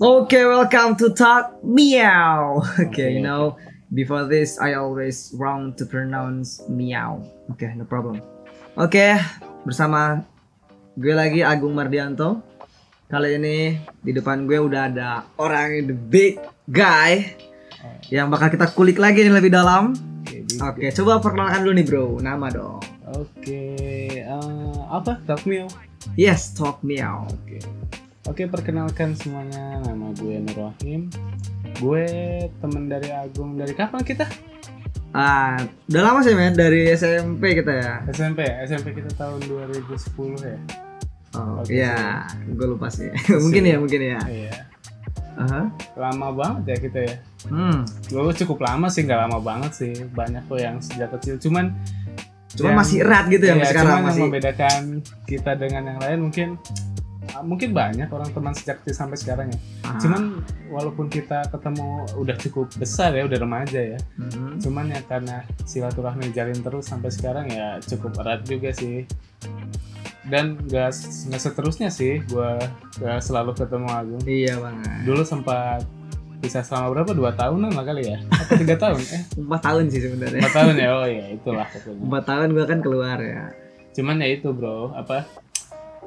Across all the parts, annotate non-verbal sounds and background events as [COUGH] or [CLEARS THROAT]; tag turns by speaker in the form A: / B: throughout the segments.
A: Okay, welcome to Talk Meow. [LAUGHS] Okay, you know, before this, I always wrong to pronounce meow. Okay, no problem. Oke, bersama gue lagi Agung Mardianto. Kali ini di depan gue udah ada orang yang the big guy yang bakal kita kulik lagi nih lebih dalam.
B: Jadi,
A: Oke, coba perkenalkan dulu nih bro, nama dong.
B: Oke, eh, apa? Talk Meow?
A: Yes, Talk Meow.
B: Oke. Oke, perkenalkan semuanya. Nama gue Nur Wahim. Gue temen dari Agung. Dari kapan kita?
A: Ah, udah lama sih men dari SMP kita ya.
B: SMP. SMP kita tahun 2010 ya.
A: Oh,
B: Oke,
A: iya, gue lupa sih. [LAUGHS] mungkin ya, mungkin ya.
B: Iya.
A: Aha.
B: Lama banget ya kita ya.
A: Hmm.
B: Gue cukup lama sih, nggak lama banget sih. Banyak kok yang sejak kecil. Cuman
A: Cuman
B: yang-
A: masih erat gitu ya,
B: Iya,
A: sampai sekarang
B: cuman
A: masih.
B: yang membedakan kita dengan yang lain mungkin ah, mungkin banyak orang teman sejak kecil sampai sekarang ya.
A: Ah.
B: Cuman walaupun kita ketemu udah cukup besar ya, udah remaja ya.
A: Mhm.
B: Cuman ya karena silaturahmi jalin terus sampai sekarang ya cukup erat juga sih. Dan nggak nggak seterusnya sih, gua nggak selalu ketemu Agung.
A: Iya banget.
B: Dulu sempat bisa selama berapa? Dua tahunan lah kali ya? Atau tiga tahun? Eh,
A: Empat tahun sih sebenarnya.
B: empat tahun ya? Oh ya itulah pokoknya.
A: [LAUGHS] Empat tahun gue kan keluar ya.
B: cuman ya itu bro apa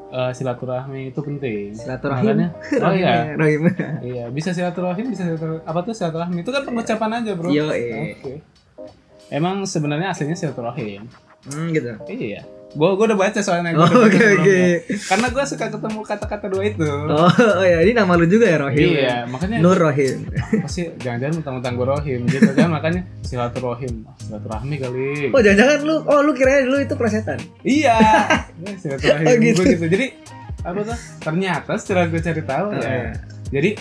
B: eh, silaturahmi itu penting
A: Silaturahim. ya.
B: Makanya- oh iya
A: Rahim.
B: iya bisa silaturahmi bisa silaturahmi apa tuh silaturahmi itu kan pengucapan aja bro
A: Yo, eh.
B: Oke. emang sebenarnya aslinya silaturahim
A: [LAUGHS] Hmm, gitu.
B: iya gua gua udah baca soalnya gua
A: Oh,
B: udah
A: Oke
B: baca
A: oke.
B: sebelumnya. karena gua suka ketemu kata-kata dua itu
A: Oh, oh ya ini nama lu juga ya Rohim.
B: iya makanya
A: Nur
B: [LAUGHS]
A: Rohim.
B: pasti jangan-jangan mentang-mentang gua rohim gitu kan makanya silaturahim Ah, silaturahmi kali
A: Oh jangan-jangan lu, oh lu kira dulu itu presetan. [LAUGHS]
B: Iya. Ya, silaturahim
A: Oh, gitu.
B: gue gitu. Jadi apa tuh? Ternyata setelah gue cari tahu
A: Oh, iya.
B: ya. Jadi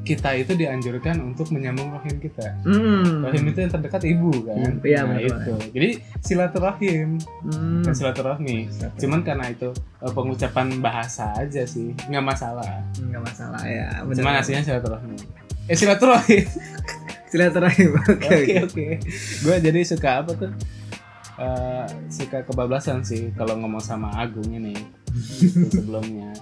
B: kita itu dianjurkan untuk menyambung rahim kita.
A: Hmm.
B: Rahim itu yang terdekat ibu kan.
A: Iya,
B: nah,
A: benar
B: itu. Jadi silaturahim,
A: Hmm.
B: bukan silaturahmi. Cuman karena itu eh, pengucapan bahasa aja sih, nggak masalah.
A: nggak masalah ya.
B: Cuman aslinya silaturahmi. Eh [LAUGHS] silaturahim.
A: Silaturahim. [LAUGHS] Oke oke.
B: Oke oke. Gue jadi suka apa tuh? Eh, suka kebablasan sih kalau ngomong sama Agung
A: [LAUGHS]
B: ini Gitu sebelumnya.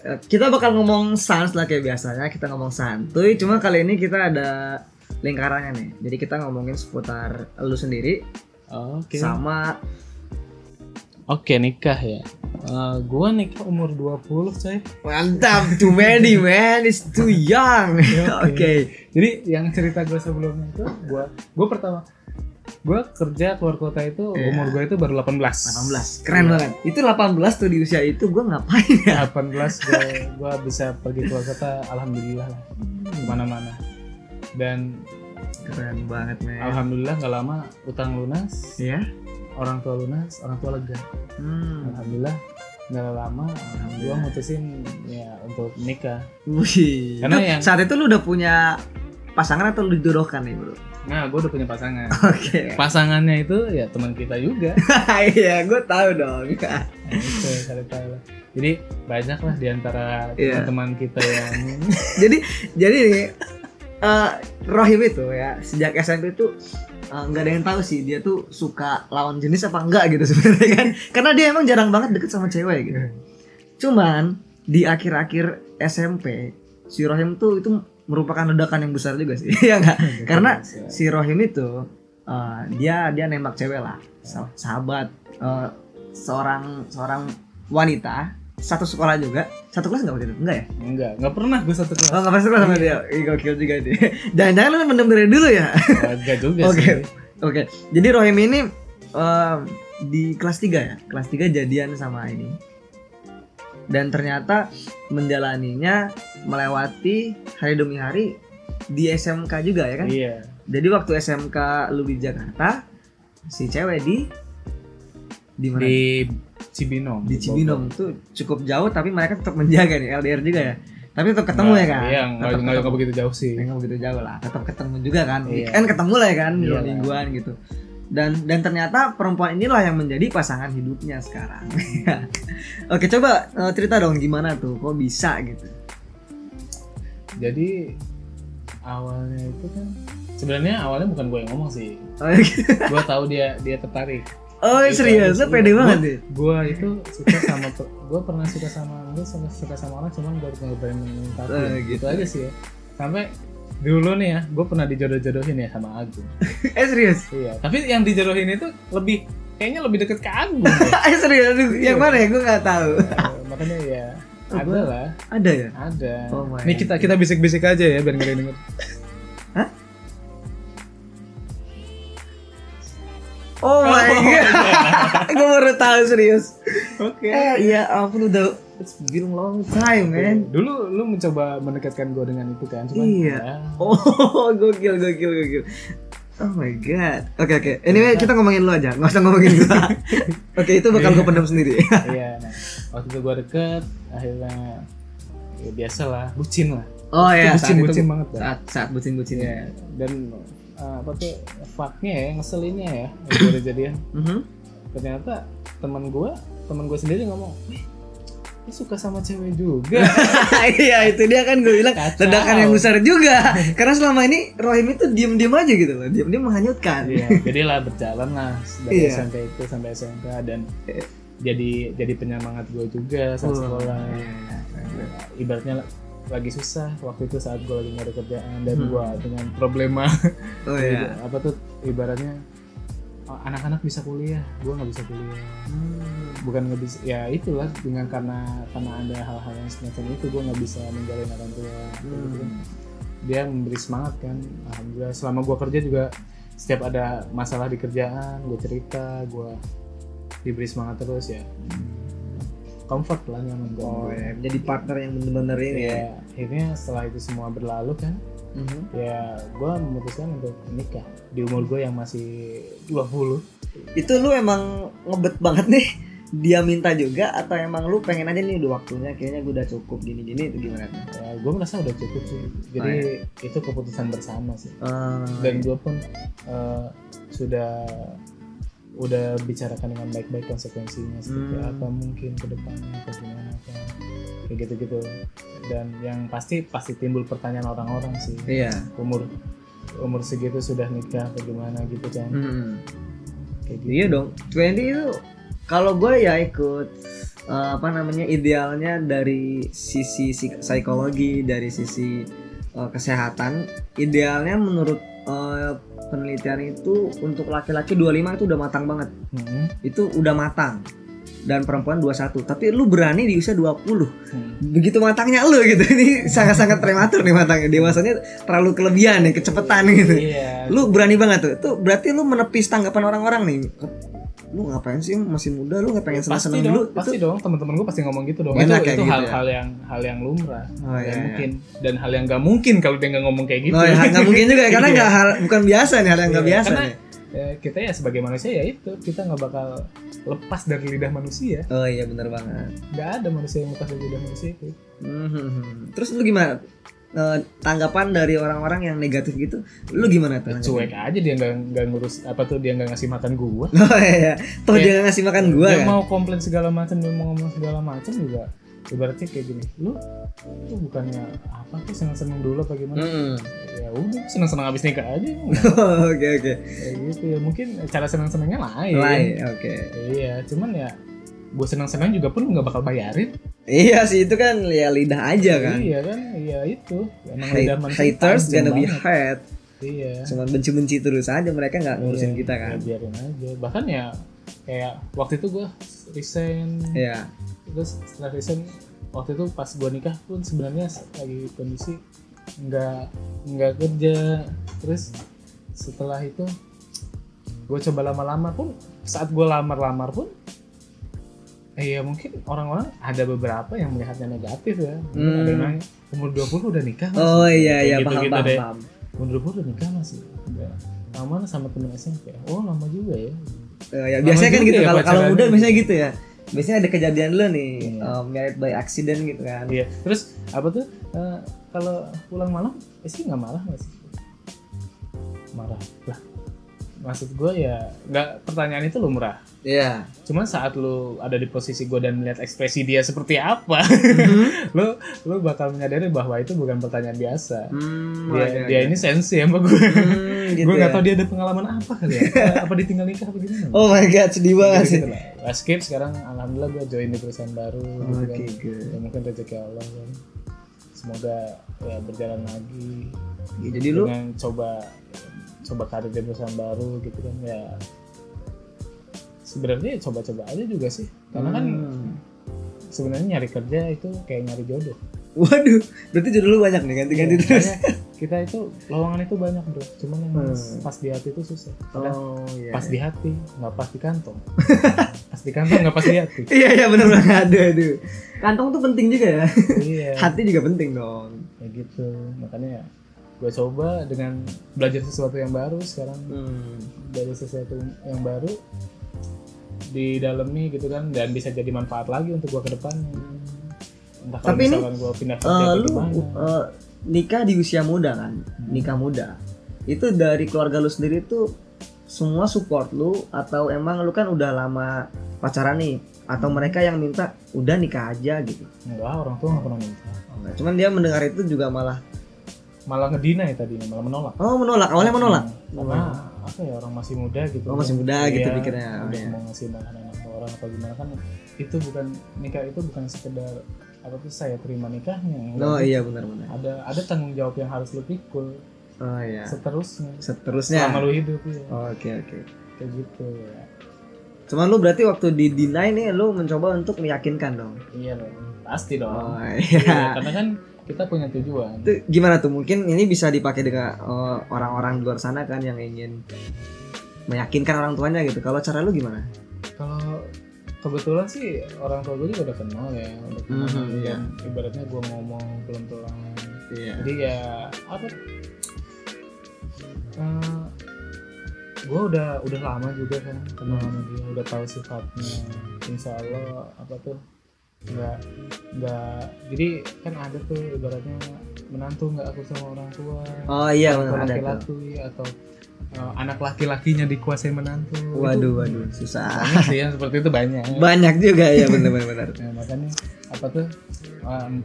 A: Eh, kita bakal ngomong sans lah kayak biasanya kita ngomong santuy cuma kali ini kita ada lingkarannya nih jadi kita ngomongin seputar lu sendiri
B: Oke.
A: sama
B: Oke nikah ya. Eh, gua nikah umur 20 coy.
A: mantap too many man is too young [LAUGHS] oke
B: Oke. Jadi yang cerita gue sebelumnya itu gua gua pertama gua kerja keluar kota itu
A: Iya.
B: umur gue itu baru 18.
A: 18 keren banget itu 18 tuh di usia itu gue ngapain
B: Iya.
A: ya
B: 18 gue gua bisa pergi keluar kota alhamdulillah lah, kemana-mana. Dan
A: keren banget man
B: alhamdulillah nggak lama utang lunas.
A: ya
B: orang tua lunas, orang tua lega.
A: hmm.
B: Alhamdulillah nggak lama gua mutusin ya untuk nikah.
A: Wih.
B: Karena
A: Itu
B: yang-
A: saat itu lu udah punya pasangan atau lu dijodohkan nih bro oke
B: Nah, gua udah punya pasangan. Pasangannya itu ya teman kita juga.
A: [LAUGHS] iya gue tahu dong [LAUGHS]
B: Nah, itu kali tahu lah. Jadi banyak lah diantara
A: Iya.
B: teman kita yang [LAUGHS]
A: jadi jadi nih eh, Rohim itu ya sejak SMP itu eh, nggak ada yang tahu sih dia tuh suka lawan jenis apa enggak gitu [LAUGHS] sebenarnya kan karena dia emang jarang banget deket sama cewek gitu cuman di akhir-akhir SMP si Rohim tuh itu merupakan ledakan yang besar juga sih [LAUGHS] ya nggak? Karena- si Rohim itu eh, dia dia nembak cewek lah Sa- sahabat eh, seorang seorang wanita satu sekolah juga satu kelas nggak waktu itu enggak ya
B: enggak, enggak pernah gue satu kelas.
A: Oh nggak pernah sekolah sama dia? Ih gokil juga dia Jangan-jangan lu mendem dari dulu ya?
B: Enggak juga
A: Oke.
B: sih.
A: Oke Jadi Rohim ini em, di kelas 3 ya? Kelas 3 jadian sama ini Dan ternyata menjalaninya melewati hari demi hari di SMK juga ya kan?
B: Iya.
A: Jadi waktu SMK lu di Jakarta Si cewek di di mana? Di,
B: Di Cibinom.
A: Cibinom tuh cukup jauh tapi mereka tetap menjaga nih LDR juga ya tapi tetap ketemu ya kan?
B: Iya,
A: Tetap
B: enggak enggak
A: ketemu.
B: enggak begitu jauh sih.
A: Ya, nggak begitu jauh lah tetap ketemu juga kan
B: Iya.
A: kan ketemu lah ya kan
B: Iya
A: dua
B: lah.
A: mingguan gitu dan dan ternyata perempuan inilah yang menjadi pasangan hidupnya sekarang
B: Hmm.
A: [LAUGHS] oke coba eh, cerita dong gimana tuh kok bisa gitu
B: jadi awalnya itu kan Sebenarnya awalnya bukan gue yang ngomong sih.
A: Oh, [LAUGHS] gitu.
B: Gue tahu dia dia tertarik.
A: Oh,
B: Gitu.
A: serius, lu pede banget ya? deh.
B: Gue itu suka sama gue pernah suka sama mungkin suka, suka sama orang cuman baru nggak berani ngungkapin.
A: Eh,
B: gitu.
A: gitu.
B: aja sih ya. Sampai dulu nih ya, gue pernah dijodoh-jodohin ya sama Agung.
A: Eh serius. [LAUGHS]
B: Iya. Tapi yang dijodohin itu lebih kayaknya lebih deket ke
A: [LAUGHS]
B: Agung. ya.
A: Eh serius, aduh, yang
B: Iya.
A: mana ya gue nggak tahu.
B: Eh, Makanya ya ada lah,
A: Ada ya?
B: ada.
A: Oh my
B: Nih kita kita bisik-bisik aja ya biar nggak denger.
A: Oh my god, [LAUGHS] gue baru tahu serius.
B: Oke.
A: Eh iya, ampun udah it's been long time man.
B: Dulu lu mencoba mendekatkan gue dengan itu kan, cuman
A: Iya.
B: ya,
A: Oh [LAUGHS] gokil gokil gokil. Oh my god. Oke oke. Anyway kita ngomongin lu aja, nggak usah ngomongin gua. oke itu bakal gue pendam sendiri.
B: iya. Nah, waktu itu gue deket, akhirnya ya biasa lah, bucin lah.
A: Oh ya. saat
B: bucin,
A: itu-
B: bucin banget, Bang.
A: Saat saat bucin bucin ya.
B: Iya. Dan eh, apa tuh fucknya ya, ngeselinnya ya, gue udah jadian.
A: Mhm.
B: Ternyata teman gue, teman gue sendiri ngomong, "Wih, lu suka sama cewek juga.
A: [LAUGHS] [LAUGHS] Iya itu dia kan gue bilang
B: Kacau.
A: ledakan yang besar juga. Karena selama ini Rohim itu diem diem aja gitu loh, diem diem menghanyutkan.
B: Iya, jadi lah berjalan lah dari
A: Iya.
B: SMP itu sampai SMK dan jadi jadi penyemangat gue juga saat
A: Wah.
B: sekolah. iya. Ibaratnya la- lagi susah waktu itu saat gue lagi nyari kerjaan dan
A: Hmm.
B: gue dengan problema
A: Oh iya.
B: [LAUGHS] apa tuh ibaratnya oh, anak-anak bisa kuliah, gue nggak bisa kuliah. Bukan nggak bisa, ya itulah dengan karena karena ada hal-hal yang semacam itu gue nggak bisa ninggalin orang tua. kayak gitu kan.
A: Hmm.
B: Dia memberi semangat kan, alhamdulillah. Selama gue kerja juga setiap ada masalah di kerjaan, gue cerita, gue diberi semangat terus ya. Comfort lah nyaman gue.
A: Oh ya menjadi partner yang bener-bener ini ya.
B: Ya, akhirnya setelah itu semua berlalu kan,
A: Mhm.
B: ya gue memutuskan untuk nikah di umur gue yang masih 20
A: Itu lu emang ngebet banget nih dia minta juga atau emang lu pengen aja nih udah waktunya kayaknya gue udah cukup gini-gini itu gimana? tuh?
B: ya gue merasa udah cukup sih jadi itu keputusan bersama sih
A: Eh,
B: dan gue pun eh, sudah udah bicarakan dengan baik-baik konsekuensinya seperti
A: Hmm.
B: apa mungkin ke depannya atau gimana apa kayak gitu-gitu dan yang pasti pasti timbul pertanyaan orang-orang sih
A: iya.
B: umur umur segitu sudah nikah atau gimana gitu kan
A: Mhm.
B: kayak gitu
A: Iya dong. 20 itu kalau gue ya ikut eh, apa namanya idealnya dari sisi psik- psikologi, dari sisi eh, kesehatan, idealnya menurut eh, penelitian itu untuk laki-laki 25 itu udah matang banget.
B: Hmm,
A: Itu udah matang. Dan perempuan 21. Tapi lu berani di usia 20.
B: hmm.
A: Begitu matangnya lu gitu. Ini sangat-sangat prematur nih matangnya. Dewasanya terlalu kelebihan nih, kecepatan gitu
B: iya
A: lu berani banget tuh itu berarti lu menepis tanggapan orang-orang nih lu ngapain sih masih muda lu nggak pengen senang
B: pasti
A: senang
B: dong,
A: dulu
B: pasti
A: itu
B: dong teman-teman gue pasti ngomong gitu dong
A: Enak
B: itu
A: ya
B: itu
A: gitu ya.
B: hal-hal yang hal yang lumrah
A: oh
B: Nggak
A: iya iya.
B: mungkin dan hal yang nggak mungkin kalau dia nggak ngomong kayak gitu
A: oh, iya, nggak mungkin juga ya, karena
B: Iya.
A: nggak hal bukan biasa nih hal yang nggak
B: Iya,
A: biasa
B: karena-
A: nih.
B: Ya, kita ya sebagai manusia ya itu kita nggak bakal lepas dari lidah manusia
A: oh iya bener banget
B: nggak ada manusia yang lepas dari lidah manusia itu
A: Mhm. terus lu gimana Eh, tanggapan dari orang-orang yang negatif gitu lu gimana tuh
B: cuek aja dia nggak nggak ngurus apa tuh dia nggak ngasih makan gua
A: [LAUGHS] oh iya toh
B: Iya.
A: dia nggak ngasih makan gua
B: dia
A: kan
B: mau komplain segala macam dia mau ngomong segala macam juga ibaratnya kayak gini lu lu bukannya apa tuh senang-senang dulu apa
A: [LAUGHS]
B: gimana
A: Mhm.
B: ya udah senang-senang abis nikah aja emang.
A: Oh, oke oke
B: Kayak gitu ya mungkin cara senang-senangnya lain.
A: lain oke
B: Iya, cuman ya gue senang-senang juga pun nggak bakal bayarin.
A: iya sih itu kan ya lidah aja kan
B: Iya kan? Iya itu. Emang lidah
A: Hate-
B: manusia
A: haters
B: tajam
A: gonna be
B: banget.
A: hate
B: Iya.
A: cuman benci-benci terus aja mereka nggak ngurusin
B: Iya,
A: kita kan
B: ya biarin aja. Bahkan ya kayak waktu itu gue resign.
A: Iya
B: Terus setelah resign waktu itu pas gue nikah pun sebenarnya lagi kondisi nggak nggak kerja. Terus setelah itu gue coba lama-lama pun saat gue lamar-lamar pun eh, ya mungkin orang-orang ada beberapa yang melihatnya negatif ya Mungkin
A: Hmm.
B: ada yang nanya, umur 20 udah nikah Mas?"
A: oh iya
B: Kayak
A: iya paham
B: gitu-gitu
A: paham,
B: deh.
A: paham.
B: umur 20 udah nikah masih lama sama temen SMP oh lama juga ya
A: Eh, ya,
B: Lama
A: biasanya kan
B: juga
A: gitu
B: ya
A: kalau kalau
B: pacarannya.
A: muda biasanya gitu ya biasanya ada kejadian lo nih
B: Iya.
A: eh, married by accident gitu kan
B: iya terus apa tuh eh, kalau pulang malam istri nggak marah nggak sih marah lah maksud gue ya nggak pertanyaan itu lumrah
A: Iya.
B: cuman saat lu ada di posisi gue dan melihat ekspresi dia seperti apa [LAUGHS] lu lu bakal menyadari bahwa itu bukan pertanyaan biasa
A: Hmm,
B: dia,
A: ada-
B: dia
A: ada.
B: ini sensi sama gue
A: Hmm, gitu
B: gue Iya, nggak
A: ya.
B: tahu dia ada pengalaman apa kali ya apa, apa ditinggal nikah apa gimana
A: Oh my god, sedih banget sih.
B: Gitu-gitu lah. Nah, skip sekarang alhamdulillah gue join di perusahaan baru gitu
A: Oh, Oke,
B: kan.
A: good.
B: Ya, mungkin rezeki Allah kan semoga ya berjalan lagi
A: Ya, jadi lu
B: dengan coba coba karir di perusahaan baru gitu kan ya sebenarnya ya coba-coba aja juga sih karena kan
A: Hmm.
B: sebenarnya nyari kerja itu kayak nyari
A: [LAUGHS]
B: jodoh
A: Waduh, berarti jodoh lu banyak nih ganti-ganti
B: Ya,
A: terus.
B: makanya kita itu lowongan itu banyak bro cuman yang
A: Hmm.
B: pas di hati itu susah Kadang
A: Oh iya.
B: pas di hati nggak pas di kantong [LAUGHS] pas di kantong nggak pas di
A: [LAUGHS]
B: hati
A: Iya iya benar banget. Aduh aduh. Kantong tuh penting juga ya.
B: iya
A: Hati juga penting dong.
B: ya gitu makanya gue coba dengan belajar sesuatu yang baru sekarang
A: Hmm.
B: belajar sesuatu yang baru di dalamnya gitu kan dan bisa jadi manfaat lagi untuk gue ke depannya entah kalau
A: Tapi ini,
B: misalkan gue pindah kerja
A: Eh,
B: atau
A: lu
B: gimana
A: eh, nikah di usia muda kan? Nikah muda. Itu dari keluarga lu sendiri tuh semua support lu atau emang lu kan udah lama pacaran nih atau mereka yang minta udah nikah aja gitu.
B: enggak orang tua nggak pernah minta
A: Nah, cuman dia mendengar itu juga malah
B: malah ngedina ya tadinya malah menolak Hmm,
A: oh menolak awalnya menolak.
B: karena apa ya orang masih muda gitu
A: Oh, masih muda gitu
B: Iya,
A: pikirnya.
B: udah
A: Iya.
B: mau ngasih makan anak ke orang atau gimana kan itu bukan nikah itu bukan sekedar apa tuh saya terima nikahnya
A: Oh iya benar-benar.
B: ada ada tanggung jawab yang harus lu pikul
A: Oh iya.
B: seterusnya
A: Seterusnya.
B: selama lu hidup ya
A: Oke oke.
B: kayak gitu ya
A: Cuman lu berarti waktu di deny nih lu mencoba untuk meyakinkan dong.
B: iya dong pasti dong
A: Oh
B: Iya,
A: iya.
B: karena kan kita punya tujuan
A: Itu gimana tuh? Mungkin ini bisa dipakai dengan eh, orang-orang di luar sana kan yang ingin meyakinkan orang tuanya gitu. Kalau cara lu gimana?
B: kalau kebetulan sih orang tua gue juga udah kenal ya udah kenal
A: Mhm,
B: Dan
A: iya.
B: ibaratnya gue ngomong pelan-pelan
A: Iya.
B: jadi ya apa Eh gue udah udah lama juga kan kenal sama dia udah tahu sifatnya insya Allah apa tuh nggak nggak jadi kan ada tuh ibaratnya menantu nggak aku sama orang tua
A: Oh iya
B: atau
A: benar ada tuh.
B: laki-laki atau eh, anak laki-lakinya dikuasai menantu Itu
A: Waduh waduh susah. [LAUGHS]
B: banyak sih yang seperti itu banyak
A: Banyak juga ya benar-benar.
B: Nah, makanya apa tuh um,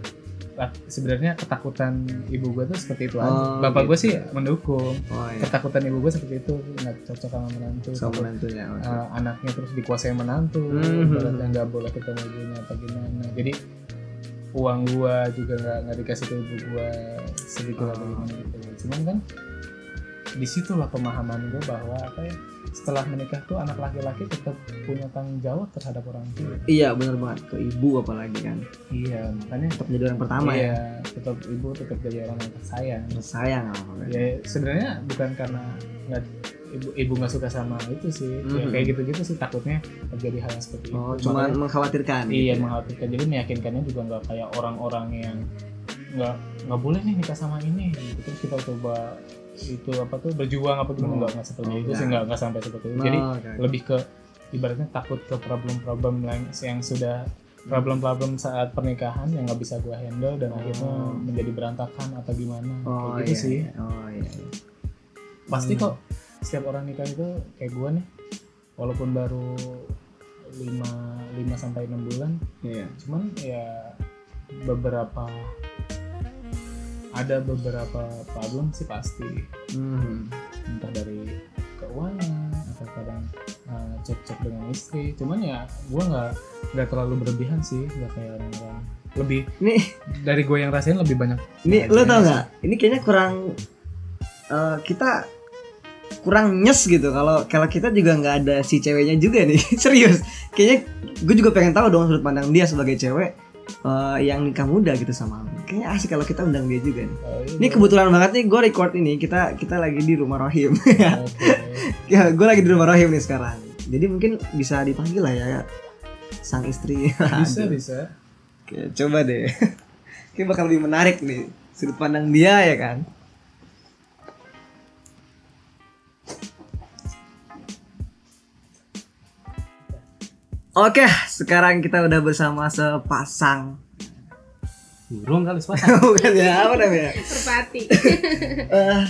B: lak- sebenarnya ketakutan ibu gue tuh seperti itu
A: Oh,
B: aja. Bapak gue
A: gitu.
B: sih mendukung.
A: Oh
B: [LAUGHS]
A: iya.
B: Ketakutan ibu gue seperti itu nggak cocok sama menantu.
A: Sama
B: takut,
A: menantunya. oke.
B: uh, anaknya terus dikuasai menantu,
A: Mhm.
B: ibaratnya nggak boleh ketemu ibunya apa gimana. Jadi uang gue juga nggak nggak dikasih ke ibu gue sedikit apa
A: Oh.
B: gimana gitu. Cuman kan disitulah pemahaman gue bahwa apa ya setelah menikah tuh anak laki-laki tetap punya tanggung jawab terhadap orang tua.
A: Iya benar banget ke ibu apalagi kan.
B: Iya, makanya
A: Tetap jadi orang pertama
B: iya,
A: ya.
B: tetap ibu tetap jadi orang yang tersayang.
A: Sayang sama
B: Ya sebenarnya bukan karena nggak ibu ibu nggak suka sama itu sih, Ya,
A: Mhm.
B: kayak gitu-gitu sih takutnya terjadi hal yang seperti
A: Oh,
B: itu.
A: cuman
B: Makanya-
A: mengkhawatirkan.
B: iya
A: gitu.
B: mengkhawatirkan. Jadi meyakinkannya juga nggak kayak orang-orang yang nggak nggak boleh nih nikah sama ini. Gitu. Terus kita coba itu apa tuh berjuang apa
A: Oh.
B: gimana nggak nggak seperti
A: Oh,
B: itu sih
A: nggak.
B: nggak nggak sampai seperti itu.
A: Oh,
B: Jadi
A: oke, oke.
B: lebih ke ibaratnya takut ke problem-problem lain yang sudah problem-problem saat pernikahan yang nggak bisa gua handle dan
A: Oh.
B: akhirnya menjadi berantakan atau gimana
A: Oh
B: kayak gitu
A: iya,
B: sih
A: iya. oh iya. iya.
B: pasti
A: Hmm.
B: kok setiap orang nikah itu kayak gua nih walaupun baru 5 5 sampai 6 bulan
A: Iya.
B: cuman ya beberapa ada beberapa problem sih pasti
A: Hmm.
B: entah dari keuangan atau kadang uh, cek-cek dengan istri cuman ya gue nggak nggak terlalu berlebihan sih nggak kayak orang-orang lebih
A: Ini
B: dari gue yang rasain lebih banyak
A: ini
B: Nah,
A: lo
B: gimana
A: tau
B: sih?
A: nggak? Ini kayaknya kurang eh, kita kurang nyes gitu kalau kalau kita juga nggak ada si ceweknya juga nih [LAUGHS] serius kayaknya gue juga pengen tahu dong sudut pandang dia sebagai cewek eh, yang nikah muda gitu sama lo kayaknya asik kalau kita undang dia juga nih
B: Oh, [LAUGHS]
A: ini kebetulan banget nih gue record ini kita kita lagi di rumah Rohim [LAUGHS]
B: oke.
A: ya gue lagi di rumah Rohim nih sekarang jadi mungkin bisa dipanggil lah ya sang istri
B: bisa bisa
A: Oke, coba deh. [LAUGHS] Kayak bakal lebih menarik nih sudut pandang dia ya kan. Oke, sekarang kita udah bersama sepasang. [LAUGHS]
B: burung kali sepasang
A: Bukan ya, apa namanya?
C: Merpati.
A: Eh,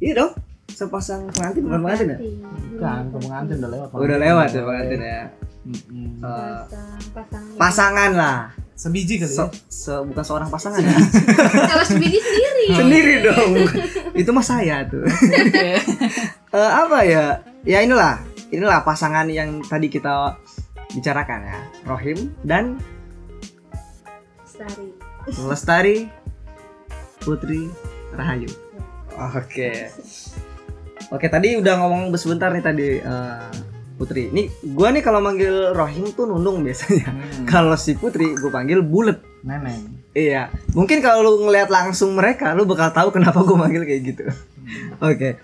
A: iya dong. Sepasang pengantin bukan pengantin ya?
C: Merpati.
B: bukan ke pengantin udah lewat
A: udah lewat ya pengantin ya
B: Mm-mm.
A: Eh,
C: pasang pasangan
A: pasangan lah
B: sebiji kali
A: Se-
B: ya
A: se- bukan seorang pasangan ya
C: kalau sendiri sendiri
A: sendiri dong [LAUGHS] itu mah saya tuh [LAUGHS] Eh, apa ya ya inilah inilah pasangan yang tadi kita bicarakan ya Rohim dan
C: Sari
A: Lestari Putri Rahayu. Oke. Oke, tadi udah ngomong sebentar nih tadi eh, Putri. Nih, gua nih kalau manggil Rohim tuh nunung biasanya.
B: Hmm.
A: Kalau si Putri gua panggil bulet.
B: neneng
A: Iya, mungkin kalau lu ngelihat langsung mereka, lu bakal tahu kenapa gue manggil kayak gitu. Oke,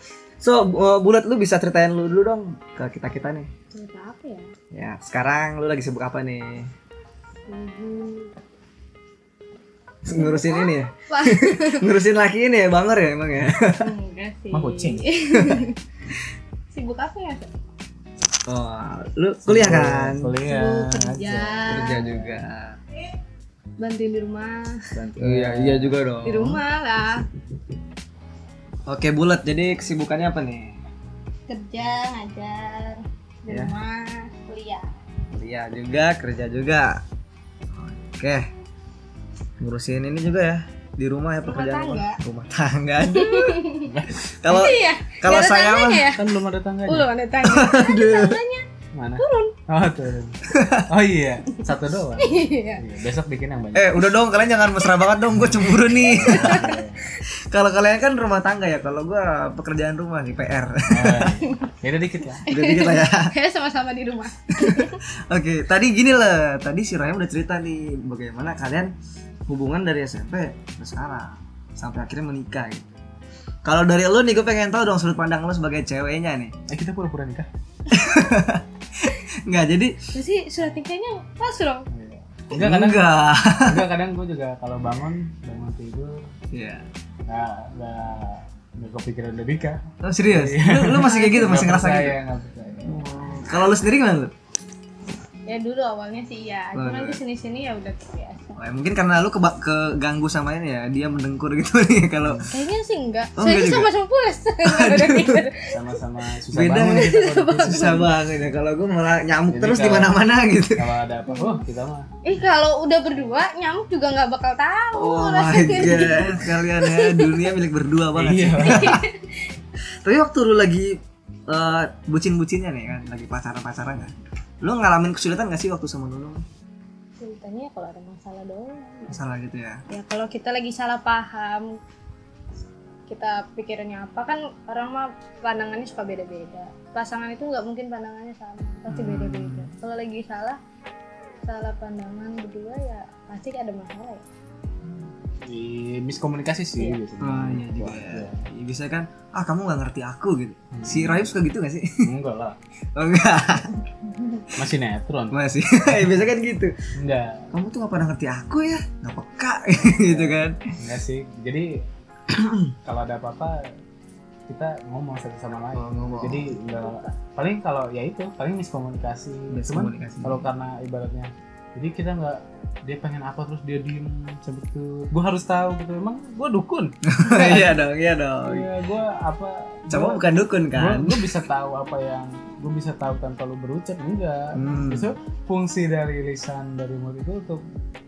A: so uh, bulat lu bisa ceritain lu dulu dong ke kita kita nih.
C: cerita apa ya
A: Ya, sekarang lu lagi sibuk apa nih?
C: ibu
A: Ngurusin ini, ya?
C: Wah.
A: ngurusin laki ini ya, banger ya [LAUGHS] emang ya.
C: enggak sih
B: Mah kucing.
C: sibuk apa ya
A: Oh, lu kuliah kan?
B: kuliah
C: sibuk kerja
A: Kerja juga.
C: bantuin di rumah
A: Iya, iya juga dong.
C: di rumah lah
A: Oke, bulat. Jadi kesibukannya apa nih?
C: kerja ngajar di
A: Ya.
C: rumah kuliah
A: Kuliah juga, kerja juga. Oke. Ngurusin ini juga ya di rumah ya pekerjaan
C: tangga.
A: rumah tangga. [LAUGHS] Kalau
C: iya
A: kalau
C: Nggak ada
A: saya mah
C: tangganya ya
B: kan belum ada tangganya
C: Udah ada tangga
A: [LAUGHS] aduh.
B: mana turun oh
A: [LAUGHS]
B: turun oh iya satu doang
C: Iya.
B: Iya, besok bikin yang banyak
A: Eh, udah dong kalian jangan mesra banget dong, gue cemburu nih. kalau kalian kan rumah tangga ya, kalau gua pekerjaan rumah nih PR.
B: ya udah dikit lah
A: udah dikit lah ya.
C: Kayaknya sama-sama di rumah
A: Oke, tadi gini lah. Tadi si Raya udah cerita nih bagaimana kalian hubungan dari SMP ke sekarang sampai akhirnya menikah gitu. Kalau dari lu nih gue pengen tahu dong sudut pandang lu sebagai ceweknya nih.
B: eh kita pura-pura nikah
A: Enggak, jadi
C: Terus surat nikahnya pas dong
B: Iya. enggak kadang
A: enggak.
B: enggak kadang gue juga kalau bangun bangun tidur
A: Iya.
B: nggak nggak nggak kepikiran udah nikah
A: Oh, serius?
B: Iya.
A: Lu, lu masih kayak gitu, masih ngerasa gitu.
B: gitu
A: Kalau lu sendiri gimana lu?
C: Ya dulu awalnya sih iya Cuman
A: Waduh.
C: kesini-sini ya udah terbiasa
A: Oh, ya mungkin karena lu keba- keganggu sama ini ya, dia mendengkur gitu [LAUGHS] nih kalau
C: Kayaknya sih enggak
A: Oh,
C: Saya
A: enggak
C: itu
A: juga?
C: sama-sama
A: [LAUGHS]
C: pulas Enggak ada tidur
B: sama-sama susah
A: beda
B: bangun
A: ya.
B: kita kalau gitu.
A: susah banget ya kalau gue malah nyamuk
B: Jadi
A: terus di
B: kalau-
A: mana-mana gitu.
B: kalau ada apa oh kita mah
C: Eh kalau udah berdua nyamuk juga nggak bakal tahu. [LAUGHS]
A: Oh my
C: rasanya.
A: god, kalian ya dunia milik berdua banget.
B: iya
A: Tapi waktu lu lagi eh, bucin-bucinnya nih kan, lagi pacaran-pacaran kan. Lu ngalamin kesulitan gak sih waktu sama Nunung?
C: Ceritanya ya kalau ada masalah doang.
A: Masalah gitu ya.
C: Ya kalau kita lagi salah paham kita pikirannya apa kan orang mah pandangannya suka beda-beda pasangan itu nggak mungkin pandangannya sama pasti
A: Hmm.
C: beda-beda kalau lagi salah salah pandangan berdua ya pasti ada masalah ya.
B: Di miskomunikasi sih
C: Iya.
B: biasanya
A: Oh iya juga ya. Ya, Biasanya kan, ah kamu gak ngerti aku gitu.
B: Hmm.
A: Si Rahim suka gitu gak sih? [LAUGHS]
B: enggak lah
A: Oh enggak,
B: masih netron
A: [LAUGHS] masih. Biasanya kan gitu.
B: enggak
A: Kamu tuh gak pernah ngerti aku ya, gak peka [LAUGHS] gitu
B: Iya.
A: kan.
B: enggak sih jadi [CLEARS THROAT] kalau ada apa-apa kita ngomong satu sama lain
A: Oh, ngomong.
B: jadi enggak paling kalau ya itu paling miskomunikasi cuman
A: Miskomunikasi.
B: kalau karena ibaratnya jadi kita nggak dia pengen apa terus dia diem sebetul gue harus tahu gitu emang gue dukun
A: [LAUGHS] Iya dong, iya dong.
B: iya gue apa
A: Cowok bukan dukun kan?
B: gue bisa tahu apa yang gue bisa tahu tanpa lu berucap enggak
A: Hmm.
B: itu fungsi dari lisan dari mulut itu untuk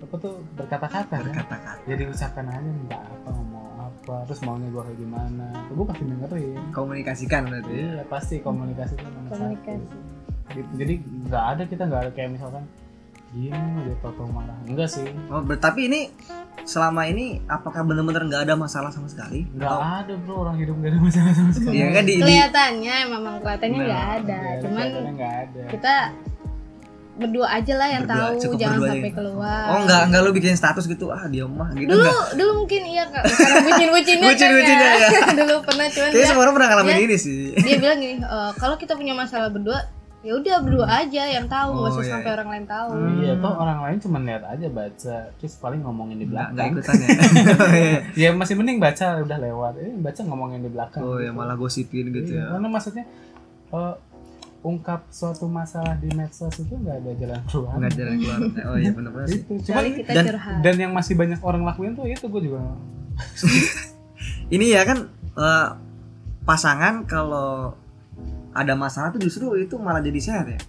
B: apa tuh berkata-kata kan
A: Berkata-kata.
B: jadi ucapkan aja minta apa mau apa terus maunya gue kayak gimana tuh gue pasti dengerin
A: Komunikasikan berarti.
B: iya pasti komunikasi itu nomor satu.
C: komunikasi
B: Gitu. jadi nggak ada kita nggak ada kayak misalkan diem dia tau marah enggak sih
A: Oh, ber- tapi ini selama ini apakah benar-benar nggak ada masalah sama sekali?
B: nggak ada bro orang hidup nggak ada masalah sama sekali
A: Iya kan di, di
C: kelihatannya memang kelihatannya
A: Nah,
C: nggak ada
B: Nggak ada,
C: cuman
B: kelihatannya nggak ada
C: kita berdua aja lah yang
A: Berdua,
C: tahu
A: cukup
C: jangan
A: berdua aja.
C: sampai keluar
A: Oh enggak, enggak lu bikin status gitu. Ah, dia mah gitu
C: dulu
A: enggak.
C: dulu mungkin iya kak karena bucin bucinnya
A: [LAUGHS] Bucin-bucinnya,
C: kan,
A: ya.
C: [LAUGHS] dulu pernah cuman
A: Kayaknya
C: dia,
A: semua orang pernah ngalamin
C: dia-
A: ini sih.
C: dia bilang gini e, kalau kita punya masalah berdua ya udah berdua aja yang tahu
A: Oh,
C: nggak usah
A: iya,
C: sampai
A: iya.
C: orang lain tahu
A: Hmm.
B: Iya, toh orang lain cuma lihat aja baca, terus paling ngomongin di
A: Enggak,
B: belakang.
A: enggak ikutan [LAUGHS] ya.
B: ya masih mending baca udah lewat. Eh, baca ngomongin di belakang.
A: oh, ya
B: gitu.
A: malah gosipin gitu ya.
B: Iya, Karena maksudnya eh, ungkap suatu masalah di medsos itu nggak ada jalan keluar.
A: Enggak ya. jalan keluar. Oh iya benar-benar sih.
B: Itu cuma
C: Kecuali kita
A: dan-
C: curhat
B: dan yang masih banyak orang lakuin tuh itu gue juga
A: Ini ya kan eh, pasangan kalau ada masalah tuh justru itu malah jadi sehat ya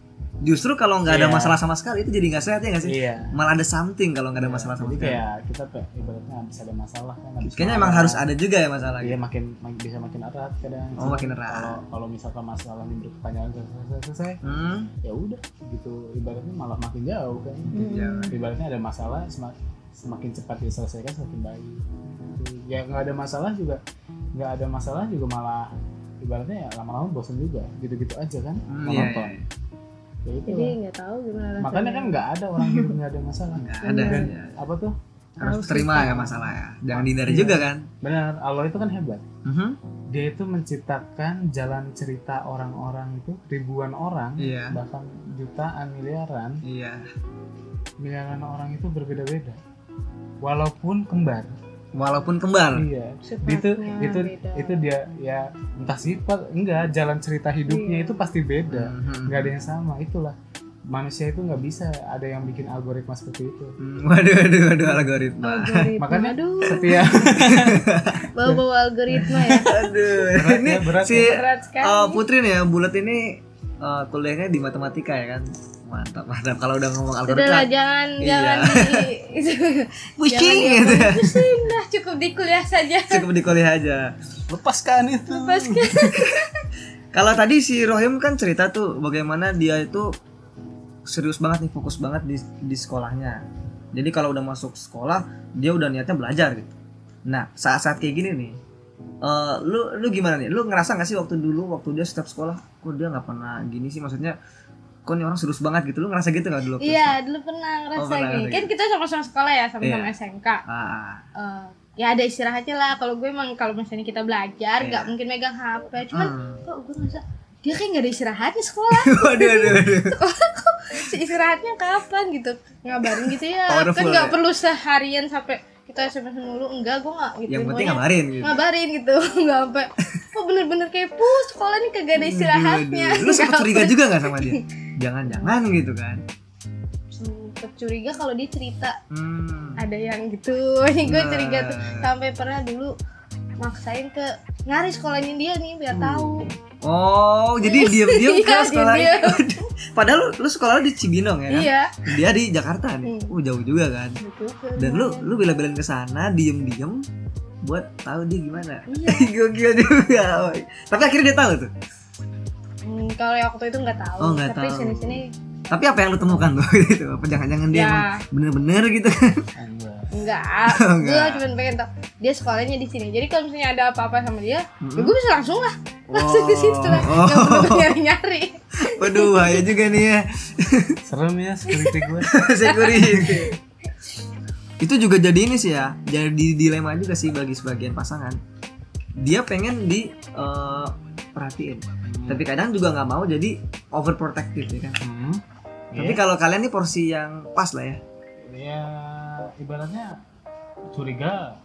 A: justru kalau nggak ada
B: Iya.
A: masalah sama sekali itu jadi nggak sehat ya nggak sih
B: Iya.
A: malah ada something kalau nggak ada masalah sama
B: Jadi
A: sekali
B: kayak kita kayak ibaratnya habis ada masalah kan habis
A: kayaknya
B: marah.
A: emang harus ada juga ya masalah
B: Iya makin, makin bisa makin erat kadang.
A: Oh, makin erat.
B: Kalau kalau misalkan masalah yang berkepanjangan selesai selesai, selesai
A: hmm?
B: ya udah gitu ibaratnya malah makin jauh kan.
C: Hmm.
A: Iya.
B: Ibaratnya ada masalah semakin, semakin cepat diselesaikan semakin baik. Gitu. Ya nggak ada masalah juga nggak ada masalah juga malah ibaratnya ya lama-lama bosan juga gitu-gitu aja kan
A: Hmm,
B: nonton.
A: iya, iya, iya.
B: Ya itu
C: jadi nggak tahu gimana rasanya
B: makanya kan nggak ada orang hidup nggak ada masalah.
A: nggak ada kan ya.
B: Apa tuh?
A: harus
C: Harus
A: terima
C: kita-
A: ya masalah ya jangan dihindari
B: Iya.
A: juga kan
B: Benar, Allah itu kan hebat.
A: Mhm.
B: dia itu menciptakan jalan cerita orang-orang itu ribuan orang
A: iya
B: bahkan jutaan miliaran
A: iya
B: miliaran orang itu berbeda-beda walaupun kembar
A: walaupun kembar
B: iya
C: Sifatnya
B: itu itu
C: beda.
B: itu dia ya entah sifat enggak jalan cerita hidupnya
C: Iya.
B: itu pasti beda
A: Mhm.
B: nggak ada yang sama itulah manusia itu nggak bisa ada yang bikin algoritma seperti itu
A: Hmm, waduh waduh waduh algoritma
C: algoritma
B: Makanya
C: aduh [LAUGHS]
B: setiap
C: bawa bawa algoritma
A: [LAUGHS]
C: ya
A: aduh
B: Berat ya,
A: ini
B: berat
A: si
C: berat sekali
A: eh, Putri nih ya bulat ini eh, kuliahnya di matematika ya kan mantap mantap kalau udah ngomong
C: Udah lah,
A: algoritma
C: jangan
A: Iya.
C: jangan di [LAUGHS]
A: pusing
C: Jangan
A: gitu
C: diomongin pusing dah cukup di kuliah saja
A: cukup di kuliah aja
B: lepaskan itu
C: lepaskan
A: kalau tadi si Rohim kan cerita tuh bagaimana dia itu serius banget nih fokus banget di di sekolahnya jadi kalau udah masuk sekolah dia udah niatnya belajar gitu nah saat-saat kayak gini nih eh, lu lu gimana nih lu ngerasa gak sih waktu dulu waktu dia setiap sekolah kok dia nggak pernah gini sih maksudnya kok nih orang serius banget gitu lu ngerasa gitu gak dulu waktu
C: iya dulu pernah ngerasa
A: Oh, pernah
C: gini
A: ngerasa
C: kan kita sama-sama sekolah ya sama-sama
A: Iya.
C: SMK
A: sekolah? ah, [LAUGHS]
C: Eh, ya ada istirahatnya lah kalau gue emang kalau misalnya kita belajar
A: Iya.
C: nggak mungkin megang HP
A: ah.
C: cuman kok gue ngerasa dia kayak nggak ada istirahatnya sekolah [LAUGHS]
A: waduh waduh waduh
C: sekolah kok si istirahatnya kapan gitu ngabarin gitu ya
A: Powerful
C: kan nggak
A: ya.
C: perlu seharian sampai kita SMS mulu enggak gue nggak gitu
A: yang penting
C: Pokoknya-
A: ngabarin gitu
C: ngabarin gitu [LAUGHS] nggak sampai kok bener-bener kepo sekolah nih kagak ada istirahatnya
A: Waduh, lu sempat
C: Nggak
A: curiga
C: apa-
A: juga nggak sama dia jangan-jangan gitu kan
C: sempet curiga kalau dia cerita
A: hmm.
C: ada yang gitu [LAUGHS] gue
A: Nah.
C: curiga tuh sampai pernah dulu maksain ke nyari sekolahnya dia nih biar
A: Uh,
C: tahu
A: oh jadi diam-diam
C: Iya,
A: ke sekolah
C: diam-diam.
A: Waduh, [LAUGHS] padahal lu, lu sekolah di Cibinong ya kan
C: iya
A: dia di Jakarta nih
C: Hmm.
A: uh jauh juga kan
C: gitu
A: dan lu lu bela-belain ke sana diem-diem buat tahu dia gimana [LAUGHS]
C: iya
A: gokil juga woy. tapi akhirnya dia tahu tuh
C: Hmm, kalau yang waktu itu nggak tahu
A: Oh, nggak
C: tapi
A: tahu.
C: sini-sini
A: tapi apa yang lu temukan tuh [LAUGHS] gitu apa jangan-jangan dia emang
C: ya
A: bener-bener gitu
B: Enggak.
A: [LAUGHS]
C: enggak
A: Oh,
C: gue
A: enggak.
C: cuma pengen tahu dia sekolahnya di sini jadi kalau misalnya ada apa-apa sama dia ya
A: Mm-mm.
C: gue bisa langsung lah langsung ke
A: [LAUGHS]
C: situ lah
A: Oh.
C: nggak perlu nyari-nyari
A: [LAUGHS] waduh bahaya juga nih ya [LAUGHS]
B: serem ya security gue
C: [LAUGHS]
A: security itu juga jadi ini sih ya jadi dilema juga sih bagi sebagian pasangan dia pengen di eh, perhatiin tapi kadang juga nggak mau jadi overprotective ya kan
B: Hmm.
A: tapi kalau kalian nih porsi yang pas lah ya
B: ya ibaratnya curiga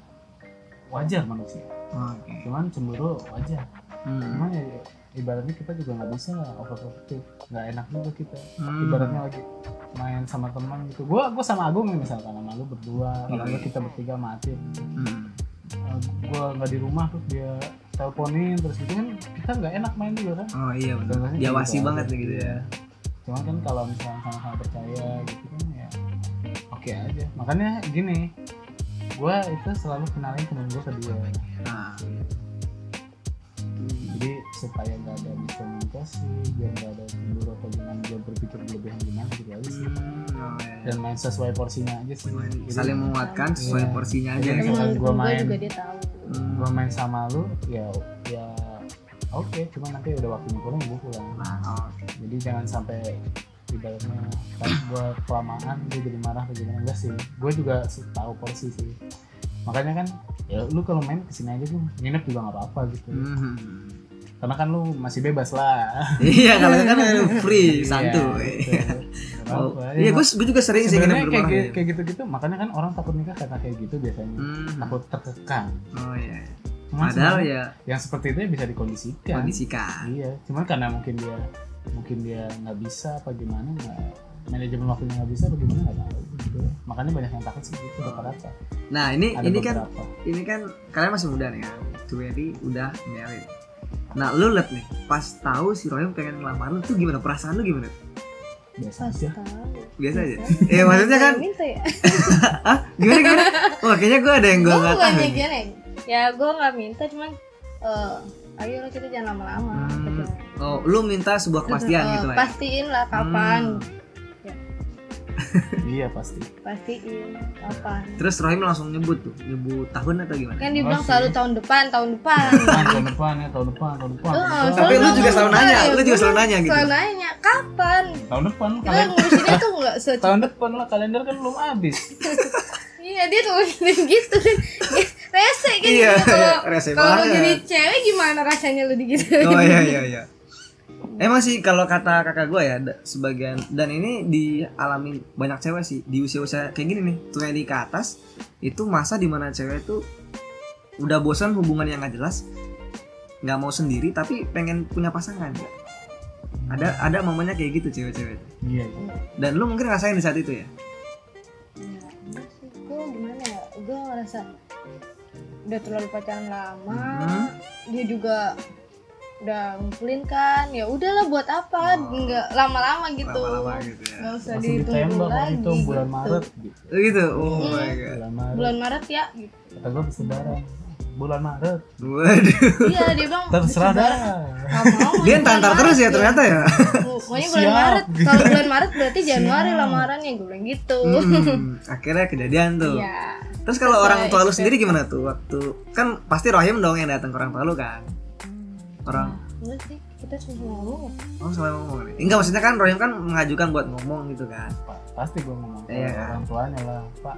B: wajar manusia
A: oke
B: cuman cemburu wajar
A: hmm.
B: cuman ya, ibaratnya kita juga nggak bisa overprotective nggak enak juga kita
A: Hmm.
B: ibaratnya lagi main sama teman gitu gua gua sama Agung nih misalkan sama lu berdua kalau
A: Iya.
B: nggak kita bertiga mati gitu.
A: Hmm.
B: Eh, gua nggak di rumah terus dia teleponin terus gitu kan kita nggak enak main juga kan
A: oh iya benar
B: Contohnya
A: diawasi
B: gitu aja.
A: banget nih gitu ya
B: cuman kan kalau misalnya sama-sama percaya gitu kan ya oke aja makanya gini gue itu selalu kenalin temen gue ke dia
A: nah.
B: jadi supaya nggak ada miskomunikasi biar nggak ada cemburu atau gimana dia berpikir berlebihan gimana gitu aja sih
A: Hmm, oh,
B: dan main sesuai porsinya aja sih
A: iya.
B: Jadi,
A: saling menguatkan sesuai
B: Ya. Iya.
A: porsinya aja
B: Iya.
A: ya.
C: teman
B: gua
C: gue
B: main.
C: juga dia tahu
A: Hmm.
B: gue main sama lu ya ya oke cuman nanti udah waktunya pulang gue pulang
A: Nah, oke.
B: jadi jangan sampai ibaratnya kan gue kelamaan dia jadi marah atau gimana enggak sih gue juga sih tahu porsi sih makanya kan ya lu kalau main kesini aja tuh nginep juga nggak apa-apa gitu
A: Hmm. [LAUGHS]
B: karena kan lu masih bebas lah
A: Iya kalau kan free
B: Iya,
A: santuy.
B: gitu.
A: [LAUGHS]
B: Nggak
A: Oh,
B: apa-apa. Ya,
A: iya gue gue juga sering sih
B: sebenarnya
A: nginep di
B: kayak
A: rumah
B: gi-
A: orang.
B: kayak gitu-gitu makanya kan orang takut nikah karena kayak gitu biasanya
A: Hmm.
B: takut terkekang
A: Oh iya.
B: Cuman
A: Padahal
B: sebenarnya
A: ya
B: yang seperti itu ya bisa dikondisikan
A: kondisikan.
B: iya cuman karena mungkin dia mungkin dia nggak bisa apa gimana nggak manajemen waktunya nggak bisa apa gimana nggak tahu gitu. makanya banyak yang takut sih gitu
C: Oh.
B: rata-rata
A: Nah ini
B: ada
A: ini kan
B: beberapa
A: ini kan kalian masih muda nih kan. Tuweri udah married. Nah, lu liat nih, pas tahu si Rohim pengen ngelamar lu tuh gimana? Perasaan lu gimana?
B: biasa
C: Pas
B: aja
C: tahu.
A: Biasa
C: [LAUGHS]
A: aja. Eh, Iya. maksudnya kan
C: Minta ya?
A: gimana gimana? Wah, kayaknya gue ada yang gue
C: Gue
A: nggak tahu.
C: bukannya
A: nih.
C: gini. Ya gue nggak minta cuman eh ayo lah kita jangan lama-lama.
A: Hmm,
C: gitu.
A: Oh, lu minta sebuah
C: [LAUGHS]
A: kepastian
C: Eh,
A: gitu lah. ya?
C: Pastiin lah kapan.
A: Hmm.
B: iya pasti
C: Pastiin kapan.
A: Terus Rohim langsung nyebut tuh, nyebut tahun atau gimana?
C: Kan dibilang
B: Pasti.
C: selalu tahun depan, tahun
A: [LAUGHS]
C: depan.
B: Ah, tahun depan ya tahun depan tahun depan
C: Eh,
B: tahun depan.
A: Tapi lu
C: Selalu
A: juga selalu
C: nanya,
A: nanya,
C: ya
A: lu juga
C: gua
A: selalu nanya gitu.
C: Selalu nanya kapan.
B: tahun depan
C: Kita
B: kalian
C: ngurusinnya
A: [LAUGHS]
C: tuh nggak secepat.
B: tahun depan lah kalender kan belum habis
C: Iya dia nulisin gitu [LAUGHS] kan. Dia Rese kan
A: Iya,
C: gitu. Kalau-
A: iya, rese
C: Kalau lu
A: banget.
C: jadi cewek gimana rasanya lu digituin?
A: [LAUGHS] Oh iya iya iya. Emang sih kalau kata kakak gue ya da- sebagian dan ini dialami banyak cewek sih di usia-usia kayak gini nih tuh di ke atas itu masa dimana cewek itu udah bosan hubungan yang gak jelas nggak mau sendiri tapi pengen punya pasangan ada ada momennya kayak gitu cewek-cewek
B: iya
A: dan lu mungkin ngerasain di saat itu ya
C: Ya, maksud gue gimana ya gue ngerasa udah terlalu pacaran lama
A: Mhm.
C: dia juga udah ngumpulin kan ya udahlah buat apa
A: Oh.
C: nggak lama-lama gitu
A: lama-lama gitu ya
C: nggak usah
B: langsung
C: ditunggu
B: ditembak
C: lagi
B: waktu itu bulan
C: gitu.
B: Maret gitu
A: Oh, gitu oh my god
B: bulan Maret
C: bulan Maret ya gitu.
B: kata gue habis lebaran bulan Maret
A: waduh
C: iya dia bilang
B: terserah dah
C: Nggak mau,
A: dia
C: bulan
A: entar
C: Maret
A: terus ya
C: gitu.
A: ternyata ya
C: pokoknya bulan
B: Siap.
C: Maret kalau bulan Maret
B: [LAUGHS]
C: berarti Januari lamarannya gue bilang gitu
A: Hmm, akhirnya kejadian tuh
C: iya kan.
A: Terus kalau
C: Sesuai
A: orang tua lu
C: ekspektasi.
A: sendiri gimana tuh waktu kan pasti Rohim dong yang datang ke orang tua lu kan.
C: Hmm.
A: Orang
C: enggak sih kita cuma ngomong ya
A: oh sampai ngomong nih. Enggak maksudnya kan Rohim kan mengajukan buat ngomong gitu kan.
B: Pak, pasti gue ngomong ke
A: Iya.
B: orang tuanya lah pak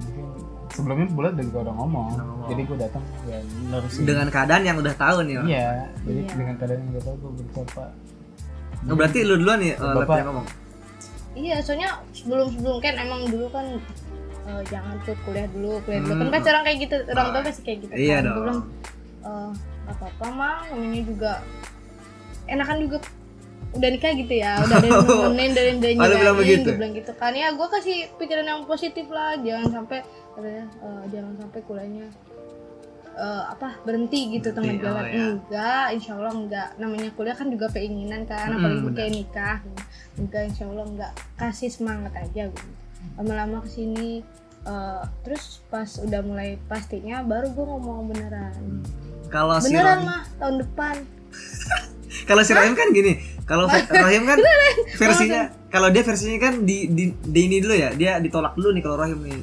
B: mungkin sebelumnya bulan udah juga udah ngomong
A: Udah ngomong.
B: jadi gue datang ya nerusin
A: Dengan keadaan yang udah tahu nih. oh. Orang.
B: iya jadi
C: Hmm. Iya.
B: dengan keadaan yang udah tahu gue beritahu pak
A: Oh, berarti lu duluan nih uh,
B: Bapak.
A: lebih yang ngomong.
C: Iya, soalnya sebelum sebelum kan emang dulu kan eh, jangan tuh kuliah dulu, kuliah dulu.
A: Hmm.
C: Kan pacaran kayak gitu, orang tua pasti kayak gitu.
A: Iya
C: kan. Gua
A: dong.
C: bilang, eh, nggak apa-apa mang, namanya juga enakan juga udah nikah gitu ya, udah ada
A: [LAUGHS]
C: yang nemenin, dari yang
A: Oh, lu bilang begitu?
C: gue bilang gitu kan ya gue kasih pikiran yang positif lah, jangan sampai katanya eh, jangan sampai kuliahnya eh, apa berhenti gitu tengah
A: Berhenti, oh,
C: jalan
A: ya.
C: enggak insya Allah enggak namanya kuliah kan juga keinginan kan
A: Mm,
C: apalagi
A: benar.
C: kayak nikah enggak insya Allah enggak kasih semangat aja gitu lama-lama kesini eh, terus pas udah mulai pastinya baru gue ngomong beneran
A: Kalau si
C: beneran
A: Rohim,
C: mah tahun depan
A: kalau si Rohim kan gini, kalau ver- Rohim
C: [LAUGHS]
A: kan versinya kalau dia versinya kan di, di, di ini dulu ya, dia ditolak dulu nih kalau Rohim nih.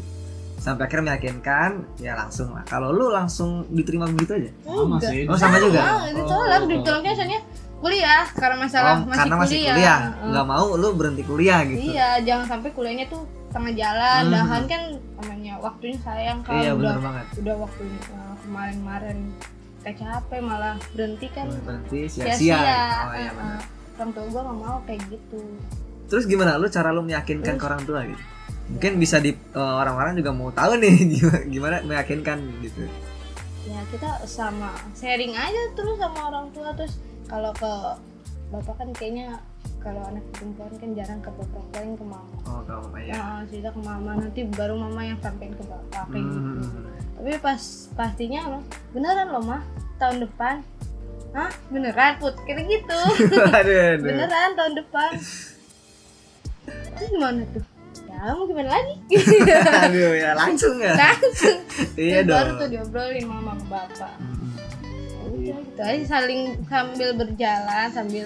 A: Sampai akhirnya meyakinkan, ya langsung lah. Kalau lu langsung diterima begitu aja.
B: sama sih
A: Oh, sama juga?
C: mau ditolak
B: Oh.
C: ditolaknya soalnya kuliah karena masalah
A: oh,
C: masih,
A: karena masih kuliah,
C: Heeh.
A: nggak mau lu berhenti kuliah gitu.
C: iya jangan sampai kuliahnya tuh tengah jalan
A: Hmm.
C: dahan kan namanya waktunya sayang kan
A: Iya, benar
C: udah
A: banget.
C: udah waktunya eh, kemarin-kemarin kita capek malah berhenti kan
A: berarti sia-sia.
C: sia-sia
A: Oh iya
C: Heeh.
A: benar.
C: orang tua gue gak mau kayak gitu
A: Terus gimana lu cara lu meyakinkan ke orang tua gitu? Mungkin bisa di eh, orang-orang juga mau tahu nih [LAUGHS] gimana, gimana meyakinkan gitu.
C: ya kita sama sharing aja terus sama orang tua terus kalau ke bapak kan kayaknya kalau anak perempuan kan jarang ke bapak paling ke mama
A: Oh, kalau ya.
C: Nah, cerita ke mama nanti baru mama yang sampein ke bapak kayak gitu
A: Hmm. [LAUGHS]
C: tapi pas pastinya loh beneran loh mah tahun depan Hah? beneran put kayak gitu
A: [LAUGHS] Aduh, aduh.
C: beneran tahun depan terus gimana tuh ya mau gimana
A: [LAUGHS]
C: lagi
A: Aduh, ya langsung ya.
C: langsung
A: iya
C: Terus Nah, baru tuh
A: dong.
C: diobrolin mama ke bapak
A: Hmm.
C: udah gitu aja saling sambil berjalan sambil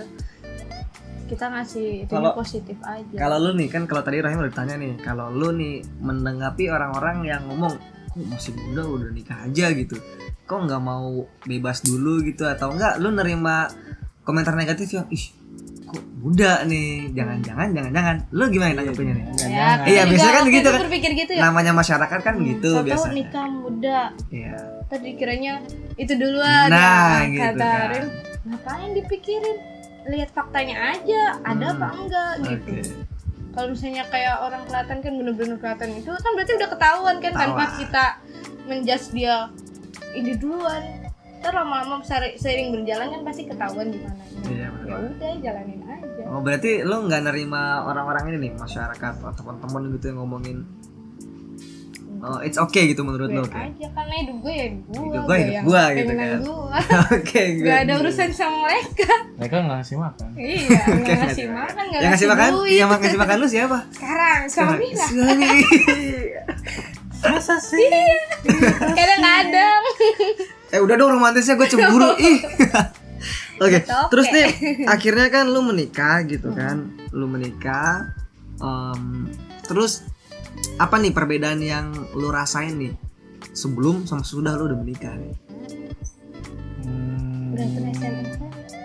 C: kita ngasih itu
A: Kalau-
C: positif aja
A: Kalau lu nih kan kalau tadi Rahim udah ditanya nih, kalau lu nih menanggapi orang-orang yang ngomong "Kok masih muda udah nikah aja gitu. Kok nggak mau bebas dulu gitu atau enggak lu nerima komentar negatif yang ih kok muda nih jangan-jangan jangan-jangan lu gimana nanggepinnya nih
C: ya,
A: Iya,
C: juga
A: biasanya kan gitu
C: waktu Iya, itu
A: kan.
C: berpikir gitu ya
A: namanya masyarakat kan
C: Hmm,
A: gitu
C: siapa tahu
A: biasanya
C: nikah muda
A: Iya.
C: tadi kiranya itu duluan ya,
A: Nah, gitu
C: kata
A: kan.
C: Arin, ngapain dipikirin lihat faktanya aja ada
A: Hmm,
C: apa enggak gitu
A: oke
C: kalau misalnya kayak orang Selatan kan bener-bener Selatan itu kan berarti udah ketahuan kan tanpa
A: Ketahuan.
C: kita menjudge dia ini duluan ntar lama-lama seri- sering berjalan kan pasti ketahuan gimana
A: Iya,
C: ya
A: betul.
C: udah jalanin aja
A: Oh, berarti lu nggak nerima orang-orang ini nih masyarakat atau teman-teman gitu yang ngomongin Oh, it's okay gitu menurut
C: gue
A: lo. Oke,
C: aja karena hidup gue ya hidup gue
A: Hidup gue, hidup gue gitu
C: keinginan
A: kan.
C: gue
A: [LAUGHS] Oke,
C: gak ada urusan sama mereka
B: mereka nggak ngasih makan
A: [LAUGHS] Oke,
C: iya nggak ngasih
A: ngasih
C: makan nggak
A: Yang ngasih makan,
C: duit
A: yang ngasih makan lu
C: [LAUGHS]
A: siapa?
C: sekarang sama Mila
A: Suami.
B: masa sih
C: kadang-kadang
A: eh udah dong romantisnya gue
C: [LAUGHS]
A: cemburu ih. [LAUGHS] Oke,
C: Oke.
A: terus nih akhirnya kan lu menikah gitu kan, lu menikah, Em, terus apa nih perbedaan yang lu rasain nih sebelum sama sudah lu udah menikah nih?
B: Hmm,
C: udah pernah SMS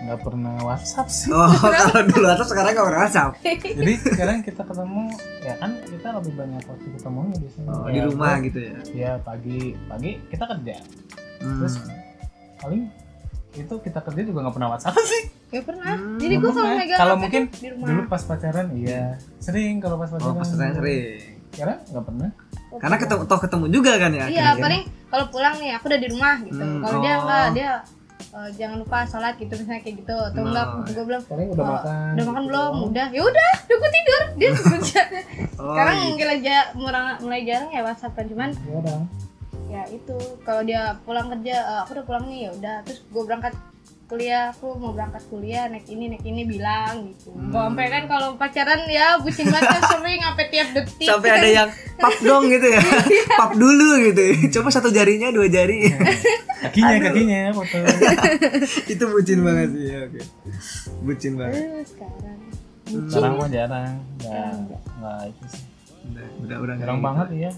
B: nggak pernah WhatsApp
C: [LAUGHS]
B: sih
A: Oh kalau dulu atau sekarang gak pernah WhatsApp?
B: jadi sekarang kita ketemu ya kan kita lebih banyak waktu ketemunya biasanya
A: Oh,
B: Ya,
A: di rumah
B: gua-
A: gitu ya.
B: ya pagi pagi kita kerja
A: Hmm.
B: Terus- paling itu kita kerja juga nggak pernah WhatsApp sih
C: gak pernah
A: Hmm,
C: jadi gue kalau
B: pernah.
C: megang
B: Kalau
C: HP
B: mungkin
C: tuh di rumah
B: dulu pas pacaran iya sering kalau pas
A: Oh
B: pacaran
A: pas tanya sering.
B: sekarang nggak pernah
A: Karena ketemu, toh ketemu juga kan ya?
C: iya
A: akhirnya.
C: paling kalau pulang nih aku udah di rumah gitu
A: Hmm,
C: kalau dia
A: oh.
C: enggak dia eh, jangan lupa sholat gitu misalnya kayak gitu atau
A: Nah.
C: enggak gue bilang
B: paling udah
C: Oh,
B: makan
C: udah makan
B: gitu
C: belum
B: doang.
C: udah ya udah udah gue tidur
A: [LAUGHS]
C: dia kerja
A: Oh,
C: sekarang
A: gitu.
C: mungkin aja mulai, mulai jarang ya whatsappan cuman
B: ya udah
C: ya itu kalau dia pulang kerja "Eh, aku udah pulang nih ya udah terus gue berangkat kuliah aku mau berangkat kuliah naik ini naik ini bilang gitu
A: Hmm.
C: gua sampai kan kalau pacaran ya bucin banget kan sampai ngapain tiap detik
A: sampai ada yang pap dong gitu
C: [LAUGHS]
A: ya
C: Iya.
A: pap dulu gitu ya. coba satu jarinya dua
C: [LAUGHS]
A: jari
B: kakinya kakinya foto
A: itu bucin banget sih ya, oke bucin banget
C: Eh, sekarang
A: Nah.
B: sekarang mah jarang nggak nggak itu sih
A: udah udah udah
B: jarang banget iya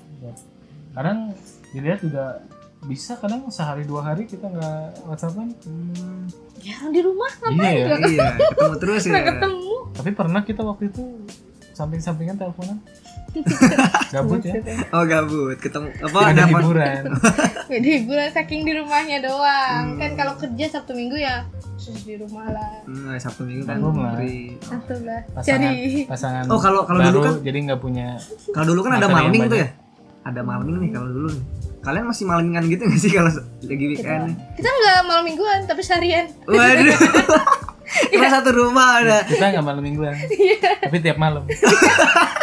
B: kadang dilihat juga bisa kadang sehari dua hari kita nggak whatsappan
C: jarang di rumah
B: iya ya
A: iya ketemu terus ya
C: nggak ketemu
B: tapi pernah kita waktu itu samping-sampingan
C: [LAUGHS]
B: teleponan gabut ya
A: oh gabut ketemu apa
B: ada
A: ada apa
B: hiburan
C: jadi gue saking di rumahnya doang kan kalau kerja sabtu minggu ya terus di rumah lah
A: Hmm, sabtu minggu kan
B: Belum lah.
A: free.
C: satu lah
B: pasangan
C: cari
B: pasangan
A: oh kalau kalau dulu
B: baru
A: kan
B: jadi nggak punya
A: kalau dulu kan ada
B: Materi yang
A: malming tuh
B: banyak.
A: ya ada malming nih kalau dulu nih kalian masih malmingan gitu gak sih kalau lagi weekend
C: kita nggak malam mingguan tapi seharian
A: waduh Cuma satu rumah ada
B: kita nggak malam
C: [LAUGHS]
B: mingguan
C: Iya.
B: tapi tiap malam
A: [LAUGHS]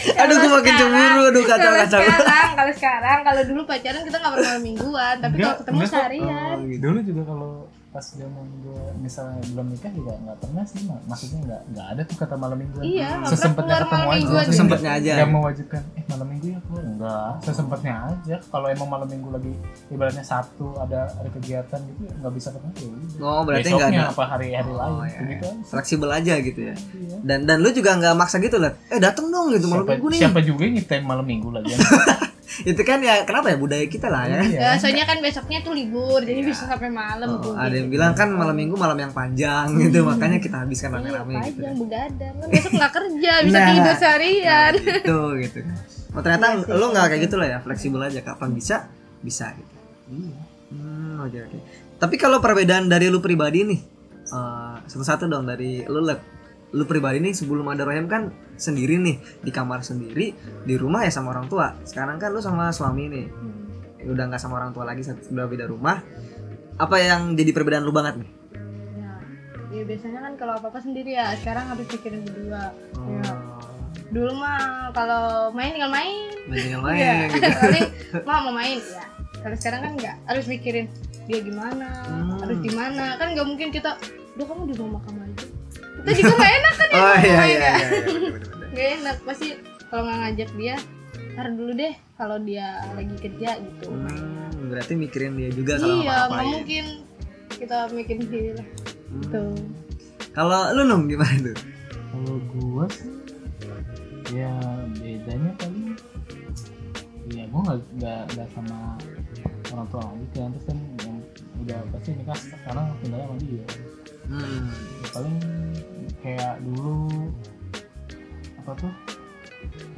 A: Aduh gue makin cemburu Aduh kacau
C: kalau
A: kacau
C: sekarang kalau sekarang kalau dulu pacaran kita nggak pernah malam mingguan tapi
B: Enggak,
C: kalau ketemu
B: enggak kok. iya.
C: seharian
A: Oh, gitu.
B: dulu juga kalau pas zaman gue misalnya belum nikah juga nggak pernah sih Ma. maksudnya nggak nggak ada tuh kata malam mingguan
C: iya nggak pernah
B: sesempatnya
C: keluar
B: ketemu
C: malam
B: aja
C: mingguan
A: Oh, sesempatnya aja.
B: nggak mewajibkan eh malam minggu ya keluar enggak sesempatnya aja kalau emang malam minggu lagi ibaratnya sabtu ada ada kegiatan gitu ya nggak bisa ketemu ya udah.
A: Oh berarti nggak
B: besoknya
A: ada
B: apa hari-hari lain
A: Oh, iya,
B: gitu aja
A: fleksibel aja gitu ya.
B: Iya.
A: Dan dan lu juga nggak maksa gitu lah. Eh dateng dong gitu malam
B: siapa,
A: minggu nih.
B: siapa juga yang nyetem malam minggu
A: [LAUGHS] Iya.
B: lagi Iya.
A: Itu kan ya kenapa ya budaya kita lah ya.
C: Ya, soalnya kan besoknya tuh libur jadi bisa sampai malam
A: Iya. Oh,
C: Bu.
A: ada yang
C: Gitu.
A: bilang kan malam minggu malam yang panjang gitu makanya kita habiskan
C: Iya,
A: rame-rame gitu.
C: panjang begadang kan besok nggak
A: [LAUGHS]
C: kerja bisa
A: Nah.
C: tidur seharian
A: Itu gitu. Oh ternyata lu nggak kayak gitu lah ya fleksibel aja kapan bisa bisa gitu.
B: Iya.
A: Hmm oke oke. Tapi kalau perbedaan dari lu pribadi nih eh, satu-satu dong dari lu Lep. Lu pribadi nih sebelum ada Rohim kan sendiri nih di kamar sendiri di rumah ya sama orang tua. Sekarang kan lu sama suami nih
C: Hmm,
A: udah nggak sama orang tua lagi satu udah beda rumah apa yang jadi perbedaan lu banget nih
C: ya, ya, biasanya kan kalau apa apa sendiri ya sekarang harus pikirin berdua Iya.
A: Oh.
C: dulu mah kalau main tinggal main
A: banyak yang
C: Iya.
A: lain gitu
C: Paling mau mau main ya. Kalau sekarang kan nggak harus mikirin dia gimana,
A: Hmm.
C: harus gimana. Kan nggak mungkin kita, udah kamu di rumah kamu aja. Kita juga
A: [LAUGHS]
C: nggak enak kan ya
A: oh
C: kalau
A: iya
C: main
A: iya
C: ya.
A: iya, iya, bener-bener.
C: Nggak enak pasti kalau nggak ngajak dia, ntar dulu deh kalau dia lagi kerja gitu.
A: Hmm, berarti mikirin dia juga kalau
C: iya,
A: apa
C: nggak mungkin kita mikirin sendiri lah.
A: Hmm.
C: Gitu.
A: kalau lu nung gimana tuh
B: Kalau gua sih ya bedanya paling ya gua nggak nggak nggak sama orang tua lagi kan terus kan yang udah pasti nikah sekarang tinggalnya sama dia
A: hmm.
B: Ya, paling kayak dulu apa tuh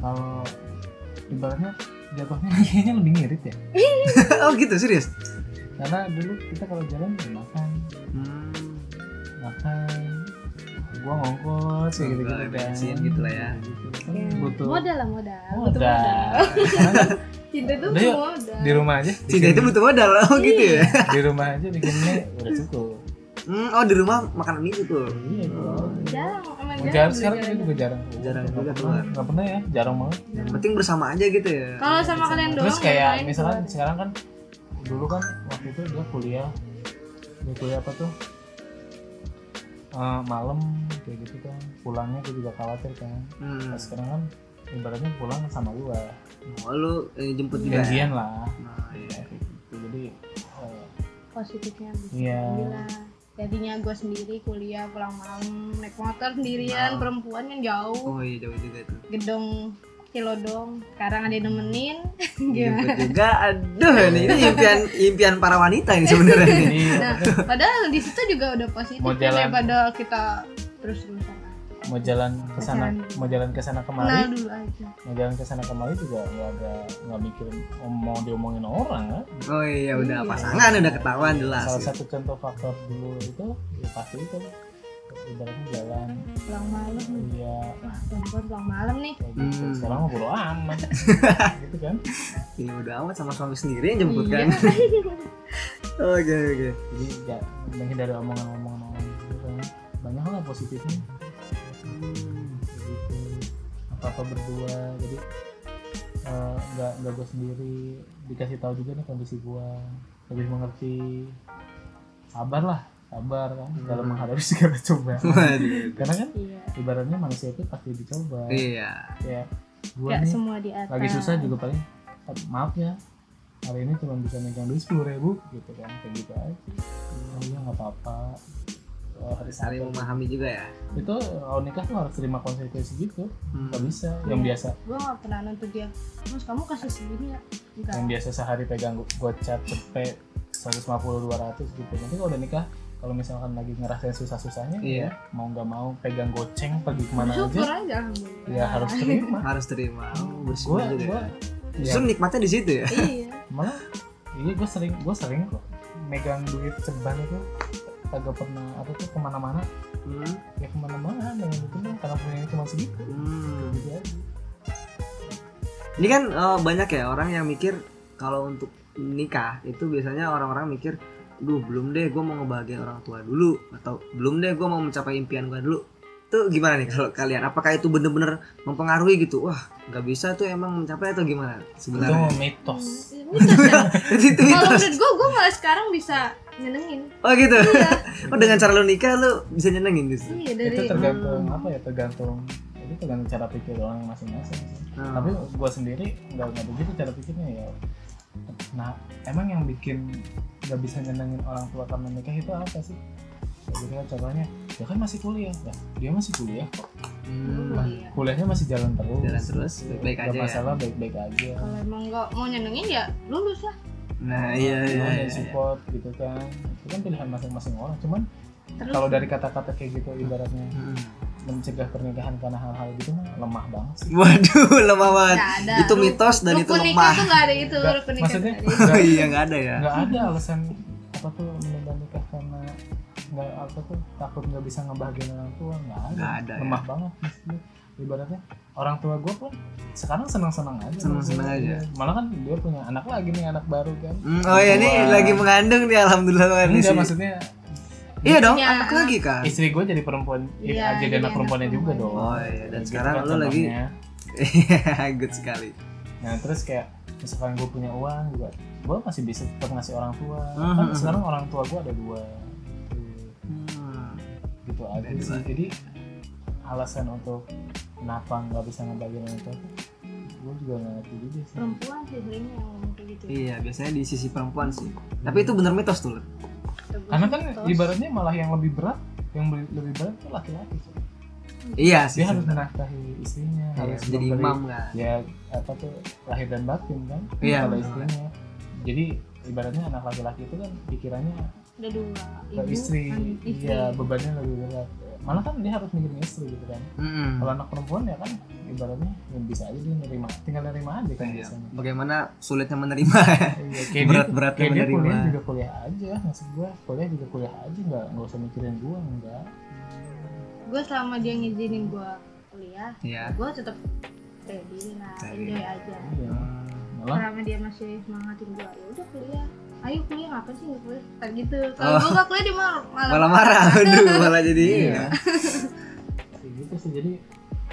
B: kalau ibaratnya jatuhnya [LAUGHS] kayaknya lebih ngirit ya
A: [LAUGHS] oh gitu serius
B: karena dulu kita kalau jalan ya makan
A: hmm.
B: makan gua ngongkos kayak gitu gitu
A: Nggak, bensin gitu lah ya.
B: Kan
C: Ya.
B: butuh
C: Modal lah modal.
B: Oh,
C: Butuh modal.
B: udah. Karena
C: Cinta tuh
B: Udah yuk.
C: modal.
B: di rumah aja
A: cinta
B: bikin-
C: Iya.
A: itu butuh modal oh gitu ya
B: di rumah aja bikinnya udah cukup
A: Hmm, oh di rumah makan mie gitu.
B: Iya, itu.
C: jarang emang
B: Mau
C: jarang
B: jarang
C: beli
B: sekarang kita
C: jalan.
B: juga jarang.
A: Jarang
B: Nggak
A: juga
B: pernah,
A: keluar.
B: nggak pernah ya, jarang banget.
A: Yang penting bersama aja gitu ya.
C: kalau sama kalian doang
B: Iya, Terus kayak
C: yang lain
B: misalkan
C: keluar.
B: sekarang kan dulu kan waktu itu gue kuliah, gue kuliah apa tuh? Eh, malam kayak gitu kan pulangnya gue juga khawatir kan
A: Hmm.
B: nah, sekarang kan ibaratnya pulang sama gue
A: Oh, lu eh, jemput juga. ya?
B: janjian lah
A: Nah, iya.
B: kayak gitu. jadi eh,
C: positifnya
B: Iya.
C: Alhamdulillah. jadinya gue sendiri kuliah pulang malam naik motor sendirian
B: Iya.
A: Malam.
C: perempuan kan jauh
A: Oh iya jauh juga tuh.
C: gedong cilodong sekarang ada yang nemenin [LAUGHS] gimana
A: Jemput juga. Aduh,
C: Iya.
A: ini, ini impian impian para wanita ini sebenarnya. nih.
C: [LAUGHS]
B: jadi
C: nah padahal di situ juga udah positif
B: Mau
C: kan,
B: jalan.
C: daripada kita terus terusan
B: mau jalan ke sana Nah. mau jalan ke sana
C: kenal
B: kemari
C: Nah, dulu aja
B: mau jalan ke sana kemari juga nggak ada nggak mikirin om- mau diomongin orang kan
A: Oh iya udah
C: Iya.
A: pasangan udah ketahuan jelas. ya.
B: salah satu contoh faktor dulu itu ya pasti itu ibaratnya jalan
C: pulang malam
B: iya
C: wah perempuan pulang malam nih
B: kayak gitu
A: Hmm.
B: sekarang mah bodo
A: [LAUGHS]
B: amat gitu kan
A: Ini Iya, udah amat sama suami sendiri yang jemput
B: [LAUGHS]
A: kan.
C: Iya.
A: Oke oke.
B: jadi nggak menghindari omongan-omongan orang gitu kan banyak lah positifnya gitu apa apa berdua jadi eh, nggak nggak gue sendiri dikasih tahu juga nih kondisi gue lebih mengerti sabar lah sabar kan dalam menghadapi segala [LAUGHS] cobaan
A: Waduh.
B: karena kan ibaratnya manusia itu pasti dicoba
A: Iya.
B: ya gue
C: Gak
B: nih
C: semua di atas.
B: lagi susah juga paling maaf ya hari ini cuma bisa megang duit sepuluh ribu gitu kan kayak gitu aja oh iya nggak apa-apa oh, hari
A: Saling
B: Sabtu.
A: memahami juga ya.
B: itu eh, kalau nikah tuh harus terima konsekuensi gitu
A: Hmm.
B: nggak bisa yang
C: Iya.
B: biasa
C: Gue gak pernah nuntut dia. Mas kamu kasih segini ya? Enggak.
B: yang biasa sehari pegang go- gocap cepet 150 200 gitu nanti kalau udah nikah kalau misalkan lagi ngerasain susah-susahnya
A: Iya.
B: ya mau nggak mau pegang goceng pergi kemana
C: Syukur
B: aja
C: aja alhamdulillah.
B: ya harus
C: [LAUGHS]
B: terima
A: Harus terima. Oh,
B: gue
A: bersyukur juga.
B: gue
A: ya.
B: ya,
A: Justru nikmatnya di situ ya.
C: Iya.
B: malah iya gue sering gue sering kok megang duit ceban itu kagak pernah apa tuh kemana-mana
A: Hmm.
B: ya kemana-mana dengan itu mah karena punya cuma segitu
A: Hmm.
B: gitu aja
A: Ini kan eh, banyak ya orang yang mikir kalau untuk nikah itu biasanya orang-orang mikir, duh belum deh gue mau ngebahagiain orang tua dulu atau belum deh gue mau mencapai impian gue dulu. Itu gimana nih kalau kalian? Apakah itu bener-bener mempengaruhi gitu? Wah nggak bisa tuh emang mencapai atau gimana
B: itu
A: sebenarnya?
B: mitos
C: Hmm, mitos ya.
A: [LAUGHS] itu
C: Kalau
A: mitos.
C: menurut gue, gue malah sekarang bisa nyenengin.
A: Oh gitu.
C: Iya.
A: Oh dengan cara lu nikah lu bisa nyenengin gitu.
C: Iya dari.
B: itu tergantung apa ya tergantung itu tergantung cara pikir orang masing-masing sih.
A: Hmm.
B: tapi gue sendiri nggak nggak begitu cara pikirnya ya nah emang yang bikin nggak bisa nyenengin orang tua karena nikah itu apa sih Kayak gitu kan contohnya ya kan masih kuliah ya dia masih kuliah kok.
A: Hmm.
C: Dulu ya.
B: kuliahnya masih jalan terus
A: Jalan terus, baik-baik
B: Nggak
A: aja ya? Iya,
B: masalah baik-baik aja
C: Kalau emang gak mau nyenengin ya lulus lah.
A: Nah iya iya.
B: Cuman
A: iya,
B: yang
A: iya.
B: support gitu kan itu kan pilihan masing-masing orang cuman
C: Terus.
B: kalau dari kata-kata kayak gitu ibaratnya
A: Hmm.
B: mencegah pernikahan karena hal-hal gitu mah lemah banget sih
A: Waduh lemah banget.
C: Nggak ada.
A: Itu
C: Lu-
A: mitos dan
C: Rukun
A: itu
C: nikah
A: lemah.
C: tuh gak ada itu.
B: Nggak,
C: Rukun nikah
B: maksudnya
C: nggak ada
A: [LAUGHS]
C: itu.
A: Oh iya nggak ada ya.
B: nggak ada alasan apa tuh menunda nikah karena nggak apa tuh takut nggak bisa ngebahagiain orang tua nggak ada,
A: Nggak ada, ya.
B: lemah banget maksudnya ibaratnya orang tua gue pun sekarang senang-senang aja
A: Senang-senang
B: maksudnya. malah kan dia punya anak lagi nih anak baru kan
A: Hmm, oh iya ini
B: Wah.
A: lagi mengandung nih alhamdulillah luar
B: enggak
A: biasa.
B: maksudnya
A: Iya dong,
C: Iya.
A: anak lagi kan. [LAUGHS]
B: istri gue jadi perempuan ya,
C: Iya,
B: jadi anak perempuannya juga dong
A: Oh iya, dan
B: Gitu
A: sekarang
B: kan
A: lu lagi
B: contohnya.
A: Iya, good sekali.
B: Nah terus kayak misalkan gue punya uang juga, gue masih bisa tetap ngasih orang tua.
A: Mhm.
B: Kan sekarang orang tua gue ada dua, gitu,
A: Hmm.
B: gitu aja
A: Ada
B: sih. Jadi alasan untuk kenapa nggak bisa ngebagiin orang tua, gue juga nggak ngerti juga sih.
C: Perempuan sih seringnya yang ngomong kayak gitu.
A: Iya, biasanya di sisi perempuan sih. Tapi itu bener mitos tuh. Lur.
B: Karena kan ibaratnya malah yang lebih berat, yang beli- lebih berat itu laki-laki. sih.
A: Iya sih.
B: Dia harus
A: sebenarnya.
B: menafkahi istrinya,
A: Iya,
B: harus
A: jadi
B: memberi-
A: imam kan.
B: ya apa tuh lahir dan batin kan
A: Iya,
B: kalau
A: benar.
B: istrinya. Jadi ibaratnya anak laki-laki itu kan pikirannya
C: Ada dua.
B: ke
C: ibu,
B: istri,
C: kan istri.
B: iya bebannya lebih berat malah kan dia harus mikirin istri gitu kan
A: Mm-mm.
B: kalau anak perempuan ya kan ibaratnya ya bisa aja dia nerima tinggal nerima aja kan
A: Iya. [LAUGHS]
B: biasanya
A: Bagaimana sulitnya menerima? [LAUGHS]
B: Iya, kayak dia,
A: Berat-beratnya
B: kayak dia kuliah
A: menerima.
B: juga kuliah aja maksud gua kuliah juga kuliah aja nggak nggak usah mikirin gua enggak
C: gue selama dia ngizinin gue kuliah
A: Iya.
C: gue tetap ready lah
A: Ready.
C: nah, enjoy aja
B: Iya.
A: Hmm.
B: malah
C: selama dia masih semangatin gue ya udah kuliah ayo kuliah ngapain sih nggak kuliah kayak gitu kalau gue nggak kuliah dia malah
A: Ah. malah marah aduh malah jadi
B: Iya. ya gitu sih jadi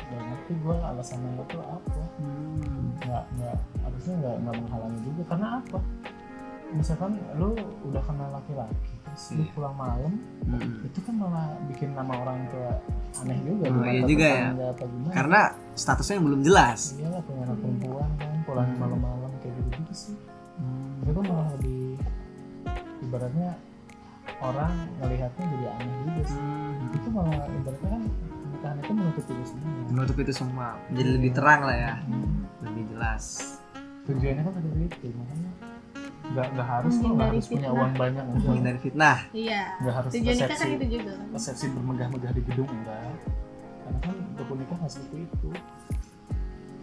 B: nggak ngerti gue alasannya itu apa
A: Hmm.
B: nggak nggak harusnya nggak nggak menghalangi juga karena apa misalkan lu udah kenal laki-laki terus lu
A: Iya.
B: pulang malam
A: Hmm.
B: itu kan malah bikin nama orang tua aneh juga
A: Oh,
B: bukan
A: iya
B: tetangga
A: juga ya.
B: apa gimana
A: karena statusnya yang belum jelas
B: iyalah punya anak perempuan kan pulang
A: Hmm.
B: malam-malam kayak gitu gitu sih itu kan malah lebih ibaratnya orang ngelihatnya jadi aneh juga sih
A: Hmm.
B: itu malah ibaratnya kan pernikahan itu menutup itu semua
A: menutup itu semua Iya. jadi lebih terang lah ya
B: Hmm.
A: lebih jelas
B: tujuannya kan seperti itu makanya nggak nggak harus kok nggak
C: Menghindari
B: harus punya
C: fitnah.
B: uang banyak enggak
C: [LAUGHS]
A: menghindari fitnah
C: iya
B: nggak harus
C: tujuan nikah kan
B: resepsi
C: itu juga kan
B: resepsi bermegah-megah di gedung enggak karena kan untuk nikah nggak seperti itu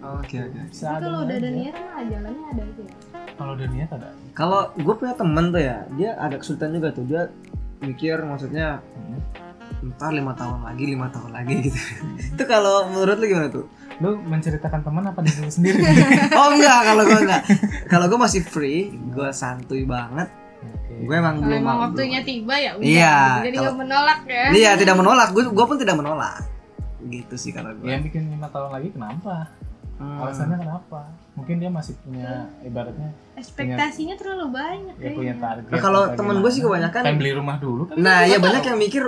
A: oke oke
B: Bisa
C: Tapi kalau
B: adanya
C: udah ada
B: aja.
C: niat mah jalannya ada aja
B: kalau udah niat ada
A: kalau gue punya temen tuh ya dia agak kesulitan juga tuh dia mikir maksudnya
B: Hmm.
A: ntar lima tahun lagi lima tahun lagi gitu itu kalau menurut lu gimana tuh
B: lu menceritakan teman apa diri lu
C: [LAUGHS]
B: sendiri
A: oh enggak kalau gue enggak kalau gue masih free gue santuy banget
B: Oke.
A: gue emang
C: kalau
A: belum
C: emang waktunya tiba ya udah
A: Iya,
C: gitu. jadi nggak
A: kalau-
C: menolak ya
A: belum- iya tidak menolak gue gue pun tidak menolak gitu sih kalau gue
B: yang bikin lima tahun lagi kenapa
A: Hmm.
B: alasannya kenapa mungkin dia masih punya
C: Iya.
B: ibaratnya
C: ekspektasinya terlalu banyak
B: ya punya
C: kayaknya.
B: target
A: Nah, kalau
B: atau
A: temen gue sih
B: gimana.
A: kebanyakan-
B: pengen beli rumah dulu kan
A: Nah, ya banyak yang mikir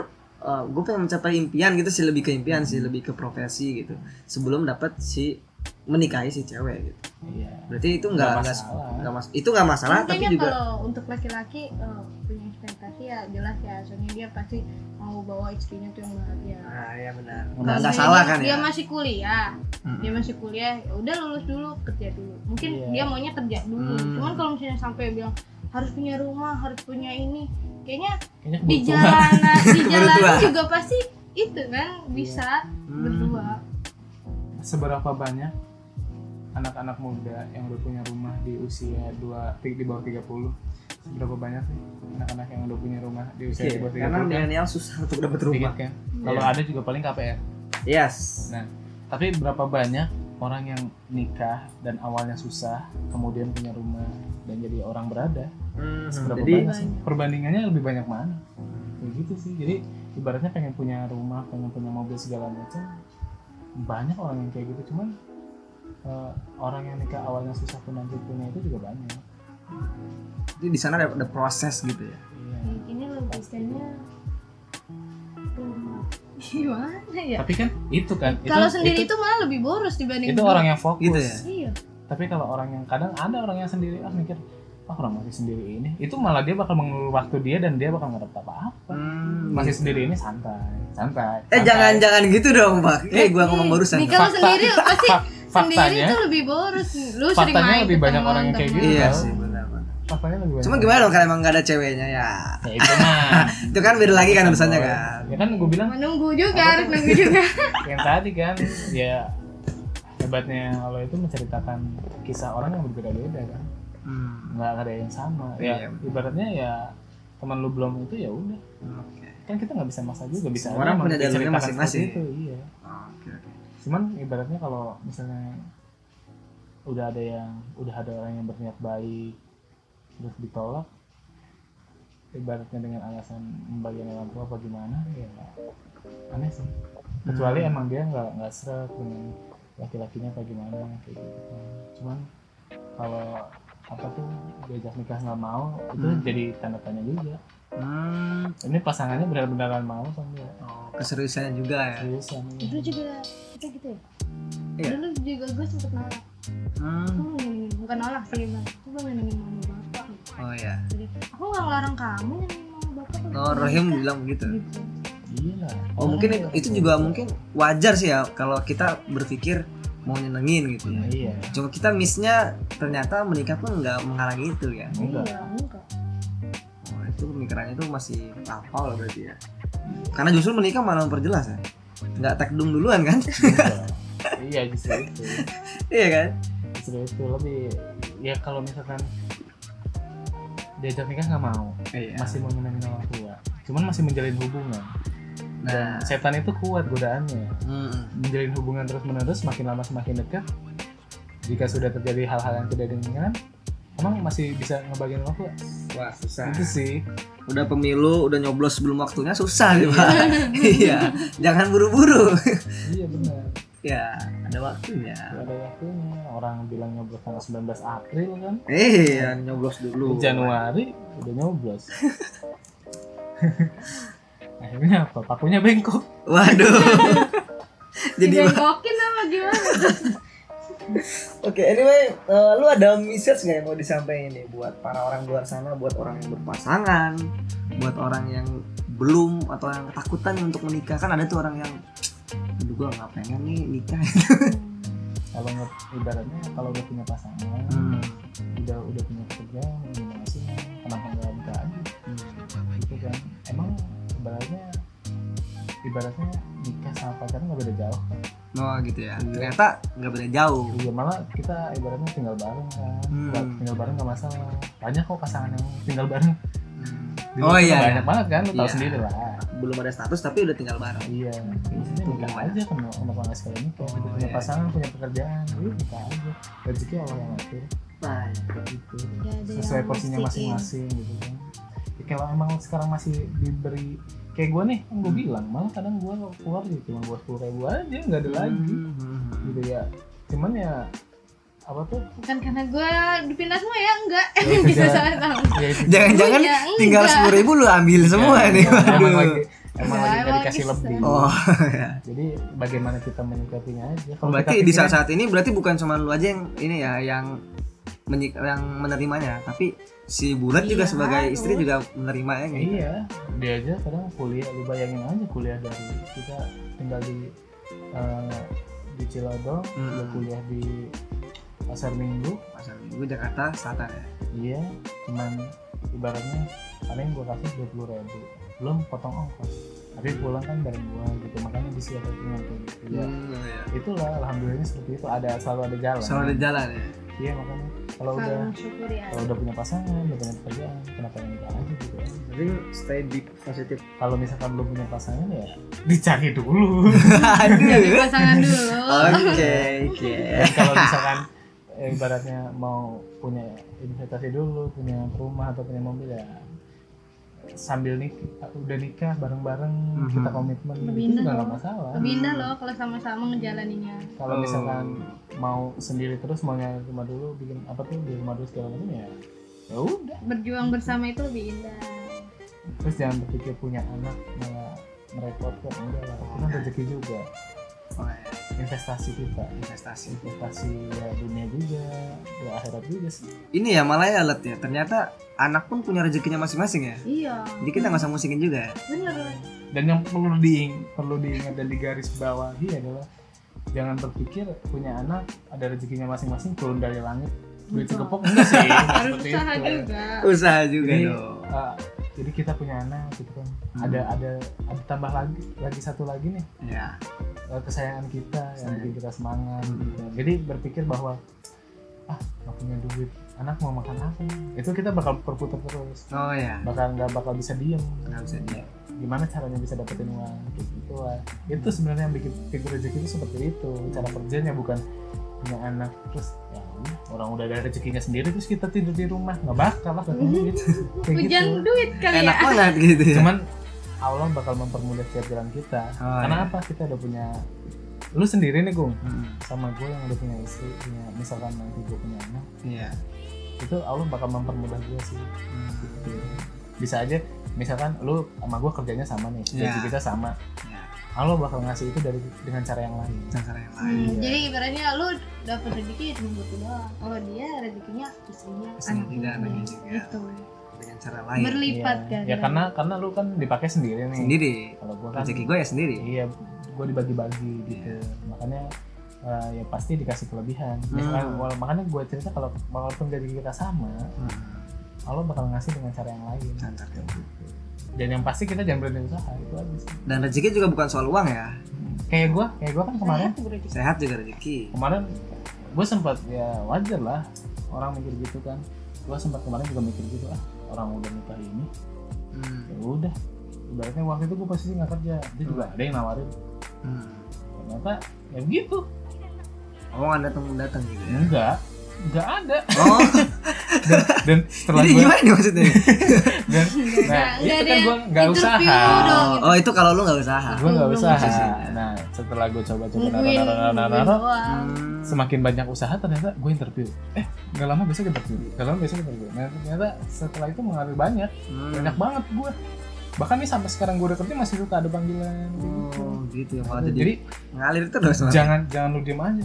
A: gue pengen mencapai impian gitu sih lebih ke impian sih lebih ke profesi gitu sebelum dapat si menikahi si cewek gitu.
B: iya
A: Berarti itu
B: Nggak
A: enggak
B: masalah.
A: enggak mas itu enggak masalah tapi
C: Kayaknya
A: juga
C: kalau untuk laki-laki eh, punya ekspektasi ya jelas ya soalnya dia pasti mau bawa istrinya tuh yang bahagia
A: Nah, ya benar.
B: Kalau
A: Enggak
C: misalnya
A: salah
C: dia-
A: kan
C: dia
A: ya.
C: masih kuliah
A: Mm.
C: dia masih kuliah ya udah lulus dulu kerja dulu mungkin
B: Iya.
C: dia maunya kerja dulu
A: Hmm.
C: cuman kalau misalnya sampai bilang harus punya rumah harus punya ini kayaknya
B: kayaknya
C: di
B: kebutuhan.
C: jalanan
B: [LAUGHS]
C: di
A: Bertua.
C: jalanan juga pasti itu kan bisa
B: Iya.
A: Hmm.
C: berdua
B: seberapa banyak anak-anak muda yang udah punya rumah di usia dua ti- di bawah 30 seberapa banyak sih anak-anak yang udah punya rumah di usia
A: Oke,
B: di bawah 30
A: Iya, karena
B: kan?
A: milenial susah untuk dapat
B: Dikit
A: rumah.
B: kan? kalau
A: Iya.
B: ada juga paling KPR
A: Yes.
B: Nah. tapi berapa banyak orang yang nikah dan awalnya susah kemudian punya rumah dan jadi orang berada
A: Mhm.
B: seberapa
A: Jadi
B: banyak sih? perbandingannya lebih banyak mana Kayak gitu sih jadi ibaratnya pengen punya rumah pengen punya mobil segala macam banyak orang yang kayak gitu cuman eh, orang yang nikah awalnya susah pun nanti punya itu juga banyak
A: jadi di sana ada, ada proses gitu ya.
B: Iya.
C: ini logikanya rumah [LAUGHS] gimana ya
B: tapi kan itu kan itu
C: kalau sendiri
B: itu,
C: itu, malah lebih boros dibanding
B: itu
C: berdua.
B: orang yang fokus
A: Gitu ya?
C: iya
B: tapi kalau orang yang kadang ada orang yang sendiri ah mikir ah orang masih sendiri ini itu malah dia bakal mengulur waktu dia dan dia bakal ngerti apa apa
A: Hmm,
B: masih
A: gitu.
B: sendiri ini santai santai
A: Eh
B: santai.
A: jangan-jangan gitu dong, Pak. Eh gua ngomong barusan.
C: Nikah lu
B: Fakta-
C: sendiri pasti
B: Fak-
C: sendiri
B: faktanya
C: itu lebih boros lu sering
B: faktanya
C: main
B: lebih
C: ke
B: banyak orang yang kayak
C: teman-teman.
B: gitu.
A: Iya
B: Tahu.
A: sih, benar. Pak.
B: faktanya lebih banyak
A: Cuma gimana dong kalau emang gak ada ceweknya ya?
B: ya itu mah
A: Itu kan beda lagi [LAUGHS] kan urusannya kan.
B: ya kan gue bilang
C: menunggu juga harus nunggu juga
B: yang tadi kan ya hebatnya Allah itu menceritakan kisah orang yang berbeda-beda kan
A: Hmm.
B: nggak ada yang sama
A: Iya.
B: ya ibaratnya ya teman lu belum itu ya udah
A: Oke.
B: kan kita nggak bisa maksa juga bisa
A: Semua orang
B: aja emang
A: punya jalurnya
B: diceritakan
A: masing-masing.
B: seperti itu, iya
A: Oke. oke.
B: cuman ibaratnya kalau misalnya udah ada yang udah ada orang yang berniat baik terus ditolak ibaratnya dengan alasan pembagian orang tua apa gimana ya aneh sih kecuali
A: Hmm.
B: emang dia nggak nggak seret dengan laki-lakinya apa gimana kayak gitu kan. cuman kalau apa tuh diajak nikah nggak mau itu
A: Hmm.
B: jadi tanda tanya juga
A: Hmm.
B: ini pasangannya benar-benaran mau apa enggak
A: Oh, keseriusannya juga ya.
B: seriusan
C: itu juga kita gitu ya
A: Iya.
C: dulu juga gue sempet nolak
A: Hmm.
C: aku ngomongin bukan nolak sih bang aku pengen ngomongin mama bapak
A: Oh ya.
C: jadi aku nggak ngelarang kamu ngomongin mama bapak kalau
A: Oh,
C: kamu
A: Rahim
C: nikah.
A: bilang begitu.
C: Gitu.
B: iya lah
A: Oh, mungkin itu juga mungkin wajar sih ya kalau kita berpikir mau nyenengin gitu ya.
B: iya
A: Cuma kita missnya ternyata menikah pun nggak menghalangi itu ya.
B: enggak
C: iya enggak
A: Oh, itu pemikirannya itu masih tapal berarti ya. Karena justru menikah malah memperjelas ya. Nggak tekdum duluan kan? [LAUGHS]
B: enggak. iya justru itu
A: iya kan?
B: justru itu lebih ya kalau misalkan diajak nikah nggak mau
A: Iya.
B: masih mau nyenengin orang tua cuman masih menjalin hubungan
A: Nah.
B: dan setan itu kuat godaannya
A: Mm-mm.
B: menjalin hubungan terus menerus makin lama semakin dekat jika sudah terjadi hal-hal yang tidak diinginkan emang masih bisa ngebagiin waktu
A: Wah [LAUGHS] susah.
B: itu sih
A: Udah pemilu, udah nyoblos sebelum waktunya susah nih pak. [LAUGHS] iya, jangan buru-buru. [LAUGHS]
B: iya benar
A: ya ada waktunya.
B: ada waktunya orang bilang nyoblos tanggal 19 April kan
A: Eh, ya, nyoblos dulu.
B: Januari udah nyoblos [LAUGHS] akhirnya apa pakunya bengkok
A: [LAUGHS] Waduh. Jadi
C: dibengkokin apa
B: [LAUGHS]
C: gimana
A: Oke, anyway, eh, lu ada message nggak yang mau disampaikan nih buat para orang luar sana, buat orang yang berpasangan, buat orang yang belum atau yang ketakutan untuk menikah kan ada tuh orang yang aduh gua nggak pengen nih nikah
B: kalau nge- ibaratnya kalau udah punya pasangan
A: Hmm.
B: udah udah punya pekerjaan gimana sih kenapa nggak buka aja
A: Hmm.
B: gitu kan emang ibaratnya ibaratnya nikah sama pacaran nggak beda jauh kan
A: oh gitu ya ternyata nggak beda jauh
B: Iya malah kita ibaratnya tinggal bareng kan
A: Hmm.
B: Nggak- tinggal bareng nggak masalah banyak kok pasangan yang tinggal bareng Di
A: oh
B: luar
A: iya
B: banyak banget kan lu tahu
A: Iya.
B: sendiri lah
A: belum ada status tapi udah tinggal bareng
B: Iya, maksudnya nikah
A: Gimana?
B: aja kan, kenapa kenapa nggak sekalian nikah?
A: Oh,
B: punya
A: iya.
B: pasangan, punya pekerjaan, lu nikah aja. Rezeki Allah yang atur,
A: nah,
B: kayak gitu. Sesuai
A: Iya,
B: porsinya masing-masing gitu kan. Ya, kalau emang sekarang masih diberi kayak gue nih,
A: Hmm.
B: yang gue bilang malah kadang gue keluar gitu cuma gue sepuluh ribu aja, nggak
A: Hmm.
B: ada lagi gitu ya. Cuman ya apa
A: [LAUGHS]
B: tuh?
C: bukan karena gue dipindah semua ya enggak
B: Ya,
C: [LAUGHS] bisa
B: tidak.
C: salah tahu
B: Ya, itu.
A: jangan-jangan
C: Iya,
A: tinggal
C: enggak.
A: sepuluh ribu lu ambil semua nih
B: Emang
A: Waduh.
B: lagi, emang lagi
C: Ya,
B: nggak
C: emang
B: dikasih
C: gitu.
B: lebih.
A: oh
B: Jadi bagaimana kita menyikapinya aja. Kalau
A: Berarti
B: kita
A: di
B: pikirin-
A: saat saat ini berarti bukan cuma lu aja yang ini ya yang menyik- yang menerimanya, tapi si Bulat juga
C: Iya,
A: sebagai istri
C: Bud.
A: juga menerimanya
B: Ya,
A: gitu.
B: Iya, dia aja kadang kuliah, lu bayangin aja kuliah dari kita tinggal di eh, di Cilodong,
A: Mm-mm.
B: udah kuliah di pasar Minggu,
A: Pasar Minggu Jakarta Selatan ya.
B: iya, cuman ibaratnya paling gua kasih dua puluh ribu, belum potong ongkos, tapi pulang kan bareng gua gitu, makanya disiapin kayak gitu. Ya,
A: Hmm, iya.
B: itulah alhamdulillahnya seperti itu ada selalu ada jalan.
A: Selalu ada jalan ya.
B: Iya makanya kalau
C: Selalu
B: udah
C: mensyukuri
B: kalau
C: aja
B: udah punya pasangan, udah punya pekerjaan, kenapa nggak nikah aja gitu ya?
A: Jadi stay di positif.
B: Kalau misalkan belum punya pasangan ya dicari dulu.
C: [LAUGHS] Jadi
A: [LAUGHS] Aduh.
C: pasangan dulu
A: Oke, oke.
B: Dan ya [LAUGHS] kalau misalkan eh, ibaratnya mau punya investasi dulu, punya rumah atau punya mobil ya sambil nik udah nikah bareng-bareng
A: Mhm.
B: kita komitmen
C: Lebih
B: itu
C: enak
B: nggak
C: dong.
B: masalah.
C: lebih indah loh kalau sama-sama ngejalaninnya
B: Kalau misalkan mau sendiri terus mau nyari rumah dulu bikin apa tuh di rumah dulu segala macam ya ya udah
C: berjuang bersama itu lebih indah
B: terus jangan berpikir punya anak malah merepotkan enggak lah itu kan rezeki juga
A: Oh, iya.
B: investasi kita
A: investasi.
B: investasi ya dunia juga ya akhirat juga sih
A: Ini ya malah ya Let, ya. Ternyata anak pun punya rezekinya masing-masing ya.
C: iya
A: Jadi kita nggak usah musingin juga ya.
C: bener
B: dan yang perlu diing perlu diingat dan digaris bawahi adalah jangan berpikir punya anak ada rezekinya masing-masing turun dari langit duit
C: Betul.
B: segepok enggak
C: [LAUGHS]
B: sih enggak
C: harus
B: seperti
C: usaha
B: itu.
C: juga
A: Usaha juga
B: Jadi,
A: dong.
B: Ah, jadi kita punya anak gitu kan ada ada ada tambah lagi lagi satu lagi nih
A: Ya.
B: eh, kesayangan kita yang
A: Sayang.
B: bikin kita semangat
A: Hmm.
B: gitu. jadi berpikir bahwa ah nggak punya duit anak mau makan apa itu kita bakal berputar terus
A: Oh ya.
B: bakal nggak bakal bisa diem
A: Nggak bisa dia.
B: gimana caranya bisa dapetin uang kayak gitu lah itu sebenarnya yang bikin figur rezeki itu seperti itu cara kerjanya bukan punya anak terus ya udah, orang udah ada rezekinya sendiri terus kita tidur di rumah nggak bakal lah katanya gitu Kayak
C: hujan
B: gitu.
C: duit kali
A: Enak
C: ya
A: banget gitu ya.
B: cuman Allah bakal mempermudah setiap jalan kita
A: Oh,
B: karena
A: iya.
B: apa kita udah punya lu sendiri nih gung
A: Mm-mm.
B: sama gue yang udah punya istri punya misalkan nanti gue punya anak
A: Iya.
B: itu Allah bakal mempermudah gue sih
A: Hmm.
B: bisa aja misalkan lu sama gue kerjanya sama nih
A: Iya.
B: gaji kita sama
A: Ya.
B: Allah bakal ngasih itu dari dengan cara yang lain.
A: Dengan cara yang lain.
C: Hmm,
B: Iya.
C: Jadi ibaratnya lu dapet rezeki cuma butuh doang. Kalau dia rezekinya istrinya,
A: Istrinya juga, anaknya
C: anaknya
A: juga.
C: gitu.
A: Dengan cara lain.
C: Berlipat
B: Iya.
C: kan.
B: Ya karena karena lu kan dipakai sendiri nih.
A: sendiri.
B: Kalau gua kan
A: Rezeki Iya. gue ya sendiri.
B: iya gua dibagi-bagi gitu. Makanya eh, ya pasti dikasih kelebihan. Misalkan,
A: Hmm.
B: wal- makanya gua cerita kalau walaupun gaji kita sama, Allah bakal ngasih dengan cara yang lain.
A: Dengan cara yang lain.
B: Dan yang pasti kita jangan berhenti usaha itu aja sih.
A: Dan rezeki juga bukan soal uang ya.
B: Kayak gua, kayak gua kan kemarin
C: Sehat berarti.
A: Sehat juga rezeki.
B: kemarin gue sempat ya wajar lah orang mikir gitu kan gue sempat kemarin juga mikir gitu ah orang udah nikah ini
A: Hmm.
B: ya udah ibaratnya waktu itu gue posisi nggak kerja dia juga ada yang nawarin
A: Hmm.
B: ternyata ya begitu [LAUGHS]
A: Omongan datang datang gitu ya.
B: enggak nggak ada
A: Oh,
B: [LAUGHS] dan, dan setelah
A: jadi
B: gue
A: gimana nih maksudnya?
B: dan nah
C: Nggak, nggak
B: itu
C: ada
B: kan
C: yang
B: gue nggak
C: interview
B: usaha
C: dong.
A: Oh, itu kalau lu nggak usaha.
B: gue nggak
C: Belum
B: usaha
A: usaha.
B: nah setelah nah, gue coba coba naro
C: nungguin
B: naro naro
C: nungguin
B: naro
C: doang
B: Hmm.
A: Hmm.
B: semakin banyak usaha ternyata gue interview eh nggak lama besok interview nggak lama besok interview nah ternyata setelah itu mengalami banyak
A: Hmm.
B: banyak banget gue bahkan nih sampai sekarang gue udah kerja masih suka ada panggilan
A: Oh, gitu ya. Malah
B: jadi,
A: jadi, ngalir terus. malah.
B: jangan jangan lu diem aja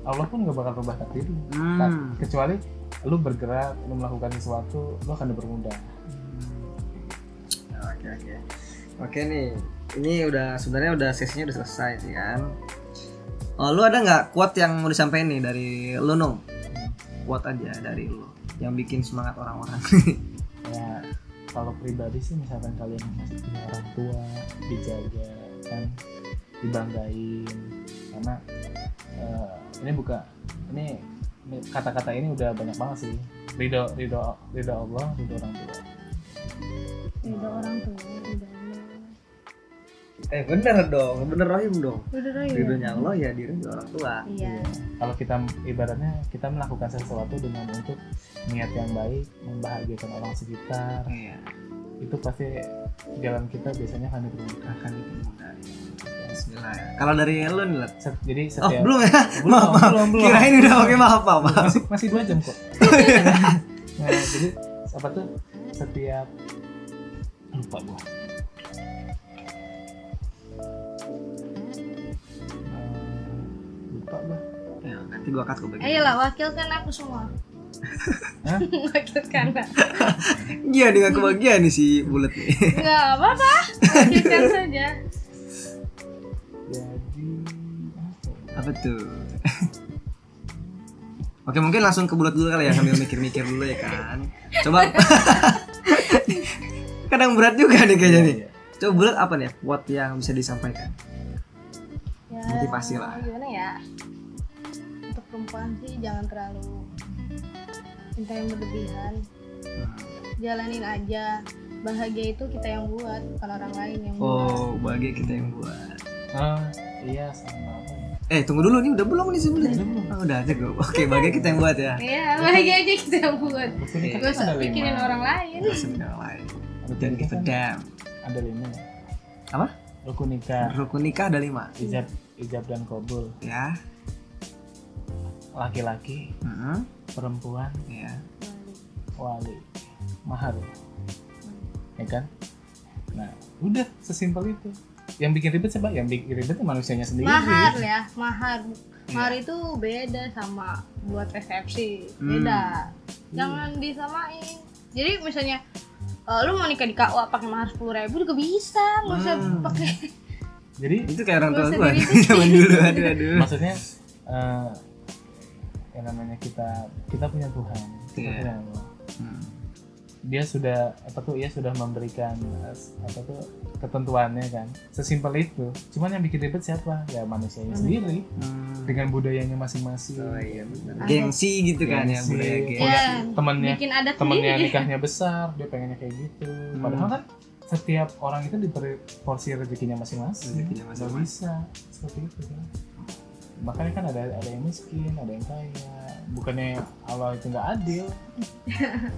B: Allah pun gak bakal rubah takdir lu Kan?
A: Hmm.
B: kecuali lu bergerak lu melakukan sesuatu lu akan dipermudah
A: Hmm. Oke oke. Oke nih, ini udah sebenarnya udah sesinya udah selesai sih kan. Oh, lu ada nggak quote yang mau disampaikan nih dari lu Nung? Quote aja dari lu yang bikin semangat orang-orang.
B: ya kalau pribadi sih misalkan kalian masih punya orang tua dijaga kan dibanggain karena eh, ini buka ini ini kata-kata ini udah banyak banget sih ridho ridho ridho Allah ridho orang tua
C: Ridho orang tua ridho Allah.
A: [LAUGHS] eh bener dong, bener rahim dong.
C: Ridho doang ya?
A: Ridhonya Allah ya diri orang tua.
C: iya
B: kalau kita ibaratnya kita melakukan sesuatu dengan untuk niat yang baik membahagiakan orang sekitar
A: Iya.
B: itu pasti jalan kita biasanya akan dipermudah
A: Akan dipermudah. ya. Bismillah. ya. Kalau dari lu nih, Lat?
B: Se- jadi
A: Oh,
B: setiap
A: belum ya?
B: Belum,
A: maaf, maaf.
B: belum, belum.
A: Kirain udah oke, maaf, maaf. maaf. [LAUGHS]
B: masih masih dua jam kok nah, jadi apa tuh setiap lupa gua Eh, lupa gua
A: Ya, nanti gua cut gua bagian.
C: ayolah Eh, wakilkan aku semua
B: Hah?
C: [LAUGHS] wakilkan aku
A: Iya, dengan kebagian nih si bulat nih.
C: nggak apa-apa wakilkan saja
B: jadi apa ya?
A: [LAUGHS] Apa tuh? Oke mungkin langsung ke bulat dulu kali ya sambil mikir-mikir dulu ya kan. Coba [LAUGHS] kadang berat juga nih kayaknya nih.
B: Iya, iya.
A: Coba bulat apa nih? Buat yang bisa disampaikan.
C: ya,
A: Motivasi lah.
C: gimana ya untuk perempuan sih jangan terlalu cinta yang berlebihan jalanin aja bahagia itu kita yang buat bukan orang lain yang buat
A: Oh bahagia kita yang buat.
B: Ah, iya sama apa ya?
A: Eh tunggu dulu nih udah belum nih si bulat.
B: Udah belum.
A: Oh, udah aja gue. Oke bahagia kita yang buat ya.
C: Iya, bahagia aja kita yang buat
B: Lu pilih kan
C: gak usah
B: ada lima.
C: pikirin orang lain
A: Masih dengan lain. Dan
B: Lu pilih
A: kita
B: kan
A: dam.
B: ada lima ya?
A: Apa?
B: Rukun nikah,
A: Rukun nikah ada lima.
B: ijab, ijab dan kabul,
A: Ya.
B: laki-laki,
A: Heeh.
B: perempuan,
A: Ya.
B: wali mahar ya kan nah udah sesimpel itu yang bikin ribet siapa yang bikin ribet tuh manusianya sendiri
C: mahar ya mahar mahar itu beda sama buat resepsi beda jangan disamain jadi misalnya eh, lu mau nikah di KUA pakai mahar sepuluh ribu juga bisa nggak usah
A: Hmm.
C: pakai
B: jadi
A: Itu kayak orang tua
C: Gua
A: gua
C: sendiri
A: nih, [LAUGHS] zaman dulu. Aduh aduh.
B: maksudnya eh yang namanya kita kita punya Tuhan kita
A: Iya.
B: punya Allah
A: Hmm.
B: dia sudah apa tuh ya sudah memberikan eh, apa tuh ketentuannya kan sesimpel itu cuman yang bikin ribet siapa ya manusianya
C: Manusia.
B: sendiri
A: Hmm.
B: dengan budayanya masing-masing
A: Oh iya benar.
C: Ada-
A: Gengsi gitu kan ya
B: Gengsi.
A: budaya
B: Iya.
A: gengsi.
C: ya
B: temennya
C: bikin adat
B: temennya
C: sendiri
B: nikahnya besar dia pengennya kayak gitu
A: Hmm.
B: padahal kan setiap orang itu diberi porsi rezekinya masing-masing
A: Rezekinya
B: Nggak
A: masing-masing.
B: bisa seperti itu kan makanya kan ada ada yang miskin ada yang kaya bukannya Allah itu nggak
C: [LAUGHS]
B: adil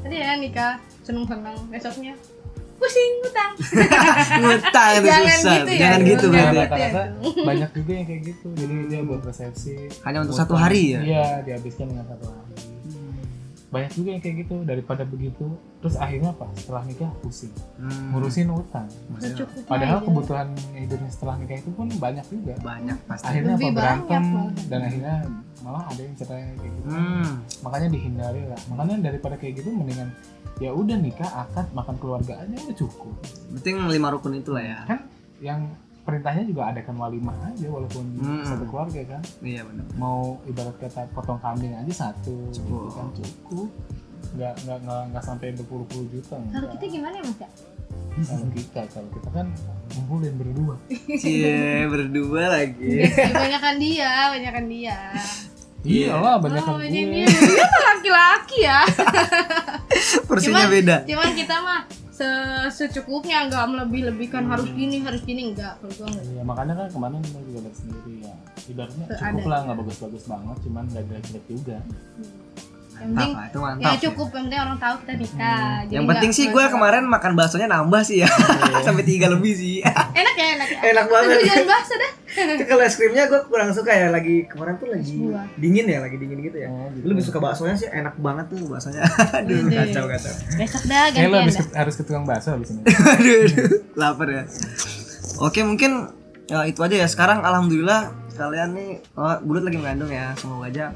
C: tadi ya nikah seneng seneng besoknya pusing utang
A: Ngutang itu
C: Jangan
A: Ah, susah.
C: gitu ya,
A: Jangan
C: Bro.
A: gitu
B: Nah,
A: berarti.
C: Jangan.
B: rata-rata
C: Aduh.
B: banyak juga yang kayak gitu jadi dia buat resepsi
A: Hanya untuk
B: buat
A: satu hari ya.
B: iya dihabiskan dengan satu hari banyak juga yang kayak gitu daripada begitu terus akhirnya apa setelah nikah pusing
A: Hmm.
B: ngurusin utang
C: Secukupnya
B: Padahal
C: aja.
B: kebutuhan hidupnya setelah nikah itu pun banyak juga.
A: banyak pasti.
B: Akhirnya apa
C: Lebih
B: berantem
C: banyak malah.
B: dan akhirnya malah ada yang cerai kayak gitu.
A: Hmm.
B: Makanya dihindari lah. Makanya daripada kayak gitu mendingan ya udah nikah akad makan keluarga aja udah cukup.
A: Berarti yang lima rukun itulah ya.
B: Kan yang perintahnya juga adakan walimah aja walaupun
A: Hmm.
B: satu keluarga kan.
A: Iya
C: [LAUGHS]
A: benar.
B: Mau ibarat kata potong kambing aja satu gitu
A: Cukup.
B: kan cukup. Nggak, nggak, nggak, nggak sampai berpuluh-puluh juta
C: kalau
B: nggak.
C: kita gimana ya mas ya
B: kalau kita kalau kita kan ngumpulin berdua
A: Cie, berdua
C: Iya.
A: [LAUGHS] lagi.
B: Iya.
C: [LAUGHS] Banyakan dia, banyakan dia.
A: Iya.
B: iyalah banyak
C: oh,
B: yang
C: banyakan
B: gue.
C: dia. Dia mah laki-laki
A: [LAUGHS]
C: ya.
A: Persinya
C: Cuman-
A: beda.
C: Cuman kita mah se- secukupnya nggak melebih-lebihkan
B: Hmm.
C: harus gini harus gini enggak kalau gua enggak.
B: Iya makanya kan kemarin kita juga lihat sendiri ya ibaratnya
C: Tuh,
B: cukup
C: ada.
B: lah nggak bagus-bagus banget cuman nggak jelek-jelek juga
C: yang penting
A: Mantap, itu mantap.
C: ya cukup yang penting orang tahu kita nikah Jadi
A: Hmm. Yang penting
C: nggak-
A: sih gue
C: nggak-
A: kemarin makan baksonya nambah sih ya [LAUGHS] Sampai tiga lebih sih
C: enak ya
A: [LAUGHS]
C: enak ya
A: Enak banget.
C: Aduh, jangan bahas dah
A: Itu Kan Kalau es krimnya gue kurang suka ya Lagi kemarin tuh lagi
C: Buah.
A: dingin ya Lagi dingin gitu ya
B: Oh, gitu.
A: Lu lebih suka baksonya sih enak banget tuh
B: [LAUGHS]
A: baksonya Aduh
C: Gitu ya.
A: kacau kacau
C: [LAUGHS] besok dah
B: Eh, lo
C: gantian
B: habis
C: dah
B: ke- harus ke tukang bakso habis ini.
A: Aduh aduh Lapar ya Oke mungkin ya, itu aja ya Sekarang alhamdulillah kalian nih oh, Bulut lagi mengandung ya Semoga aja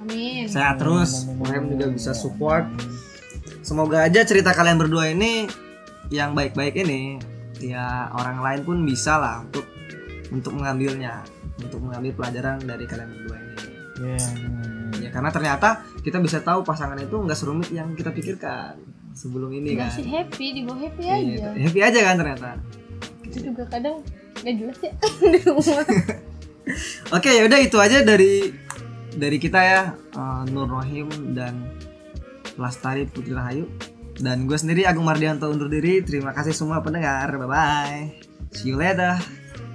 C: amin
A: sehat terus Mem juga bisa support semoga aja cerita kalian berdua ini yang baik-baik ini ya orang lain pun bisa lah untuk untuk mengambilnya untuk mengambil pelajaran dari kalian berdua ini
B: Iya.
A: ya karena ternyata kita bisa tahu pasangan itu nggak serumit yang kita pikirkan sebelum ini kan
C: masih happy di bawah Iya happy aja
A: Iya, happy aja kan ternyata
C: itu juga kadang nggak jelas ya di rumah
A: Oke, yaudah itu aja dari dari kita ya Eh, Nur Rohim dan Lastari Putri Rahayu dan gue sendiri Agung Mardianto undur diri. Terima kasih semua pendengar. Bye bye. See you later.